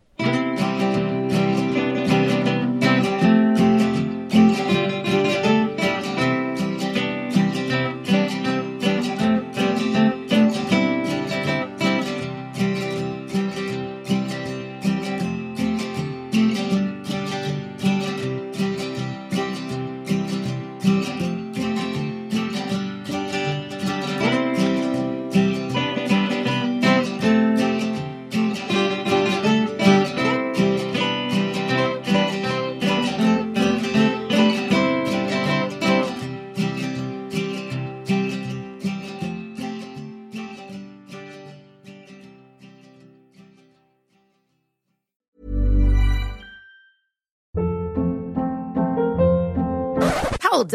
[SPEAKER 7] Hold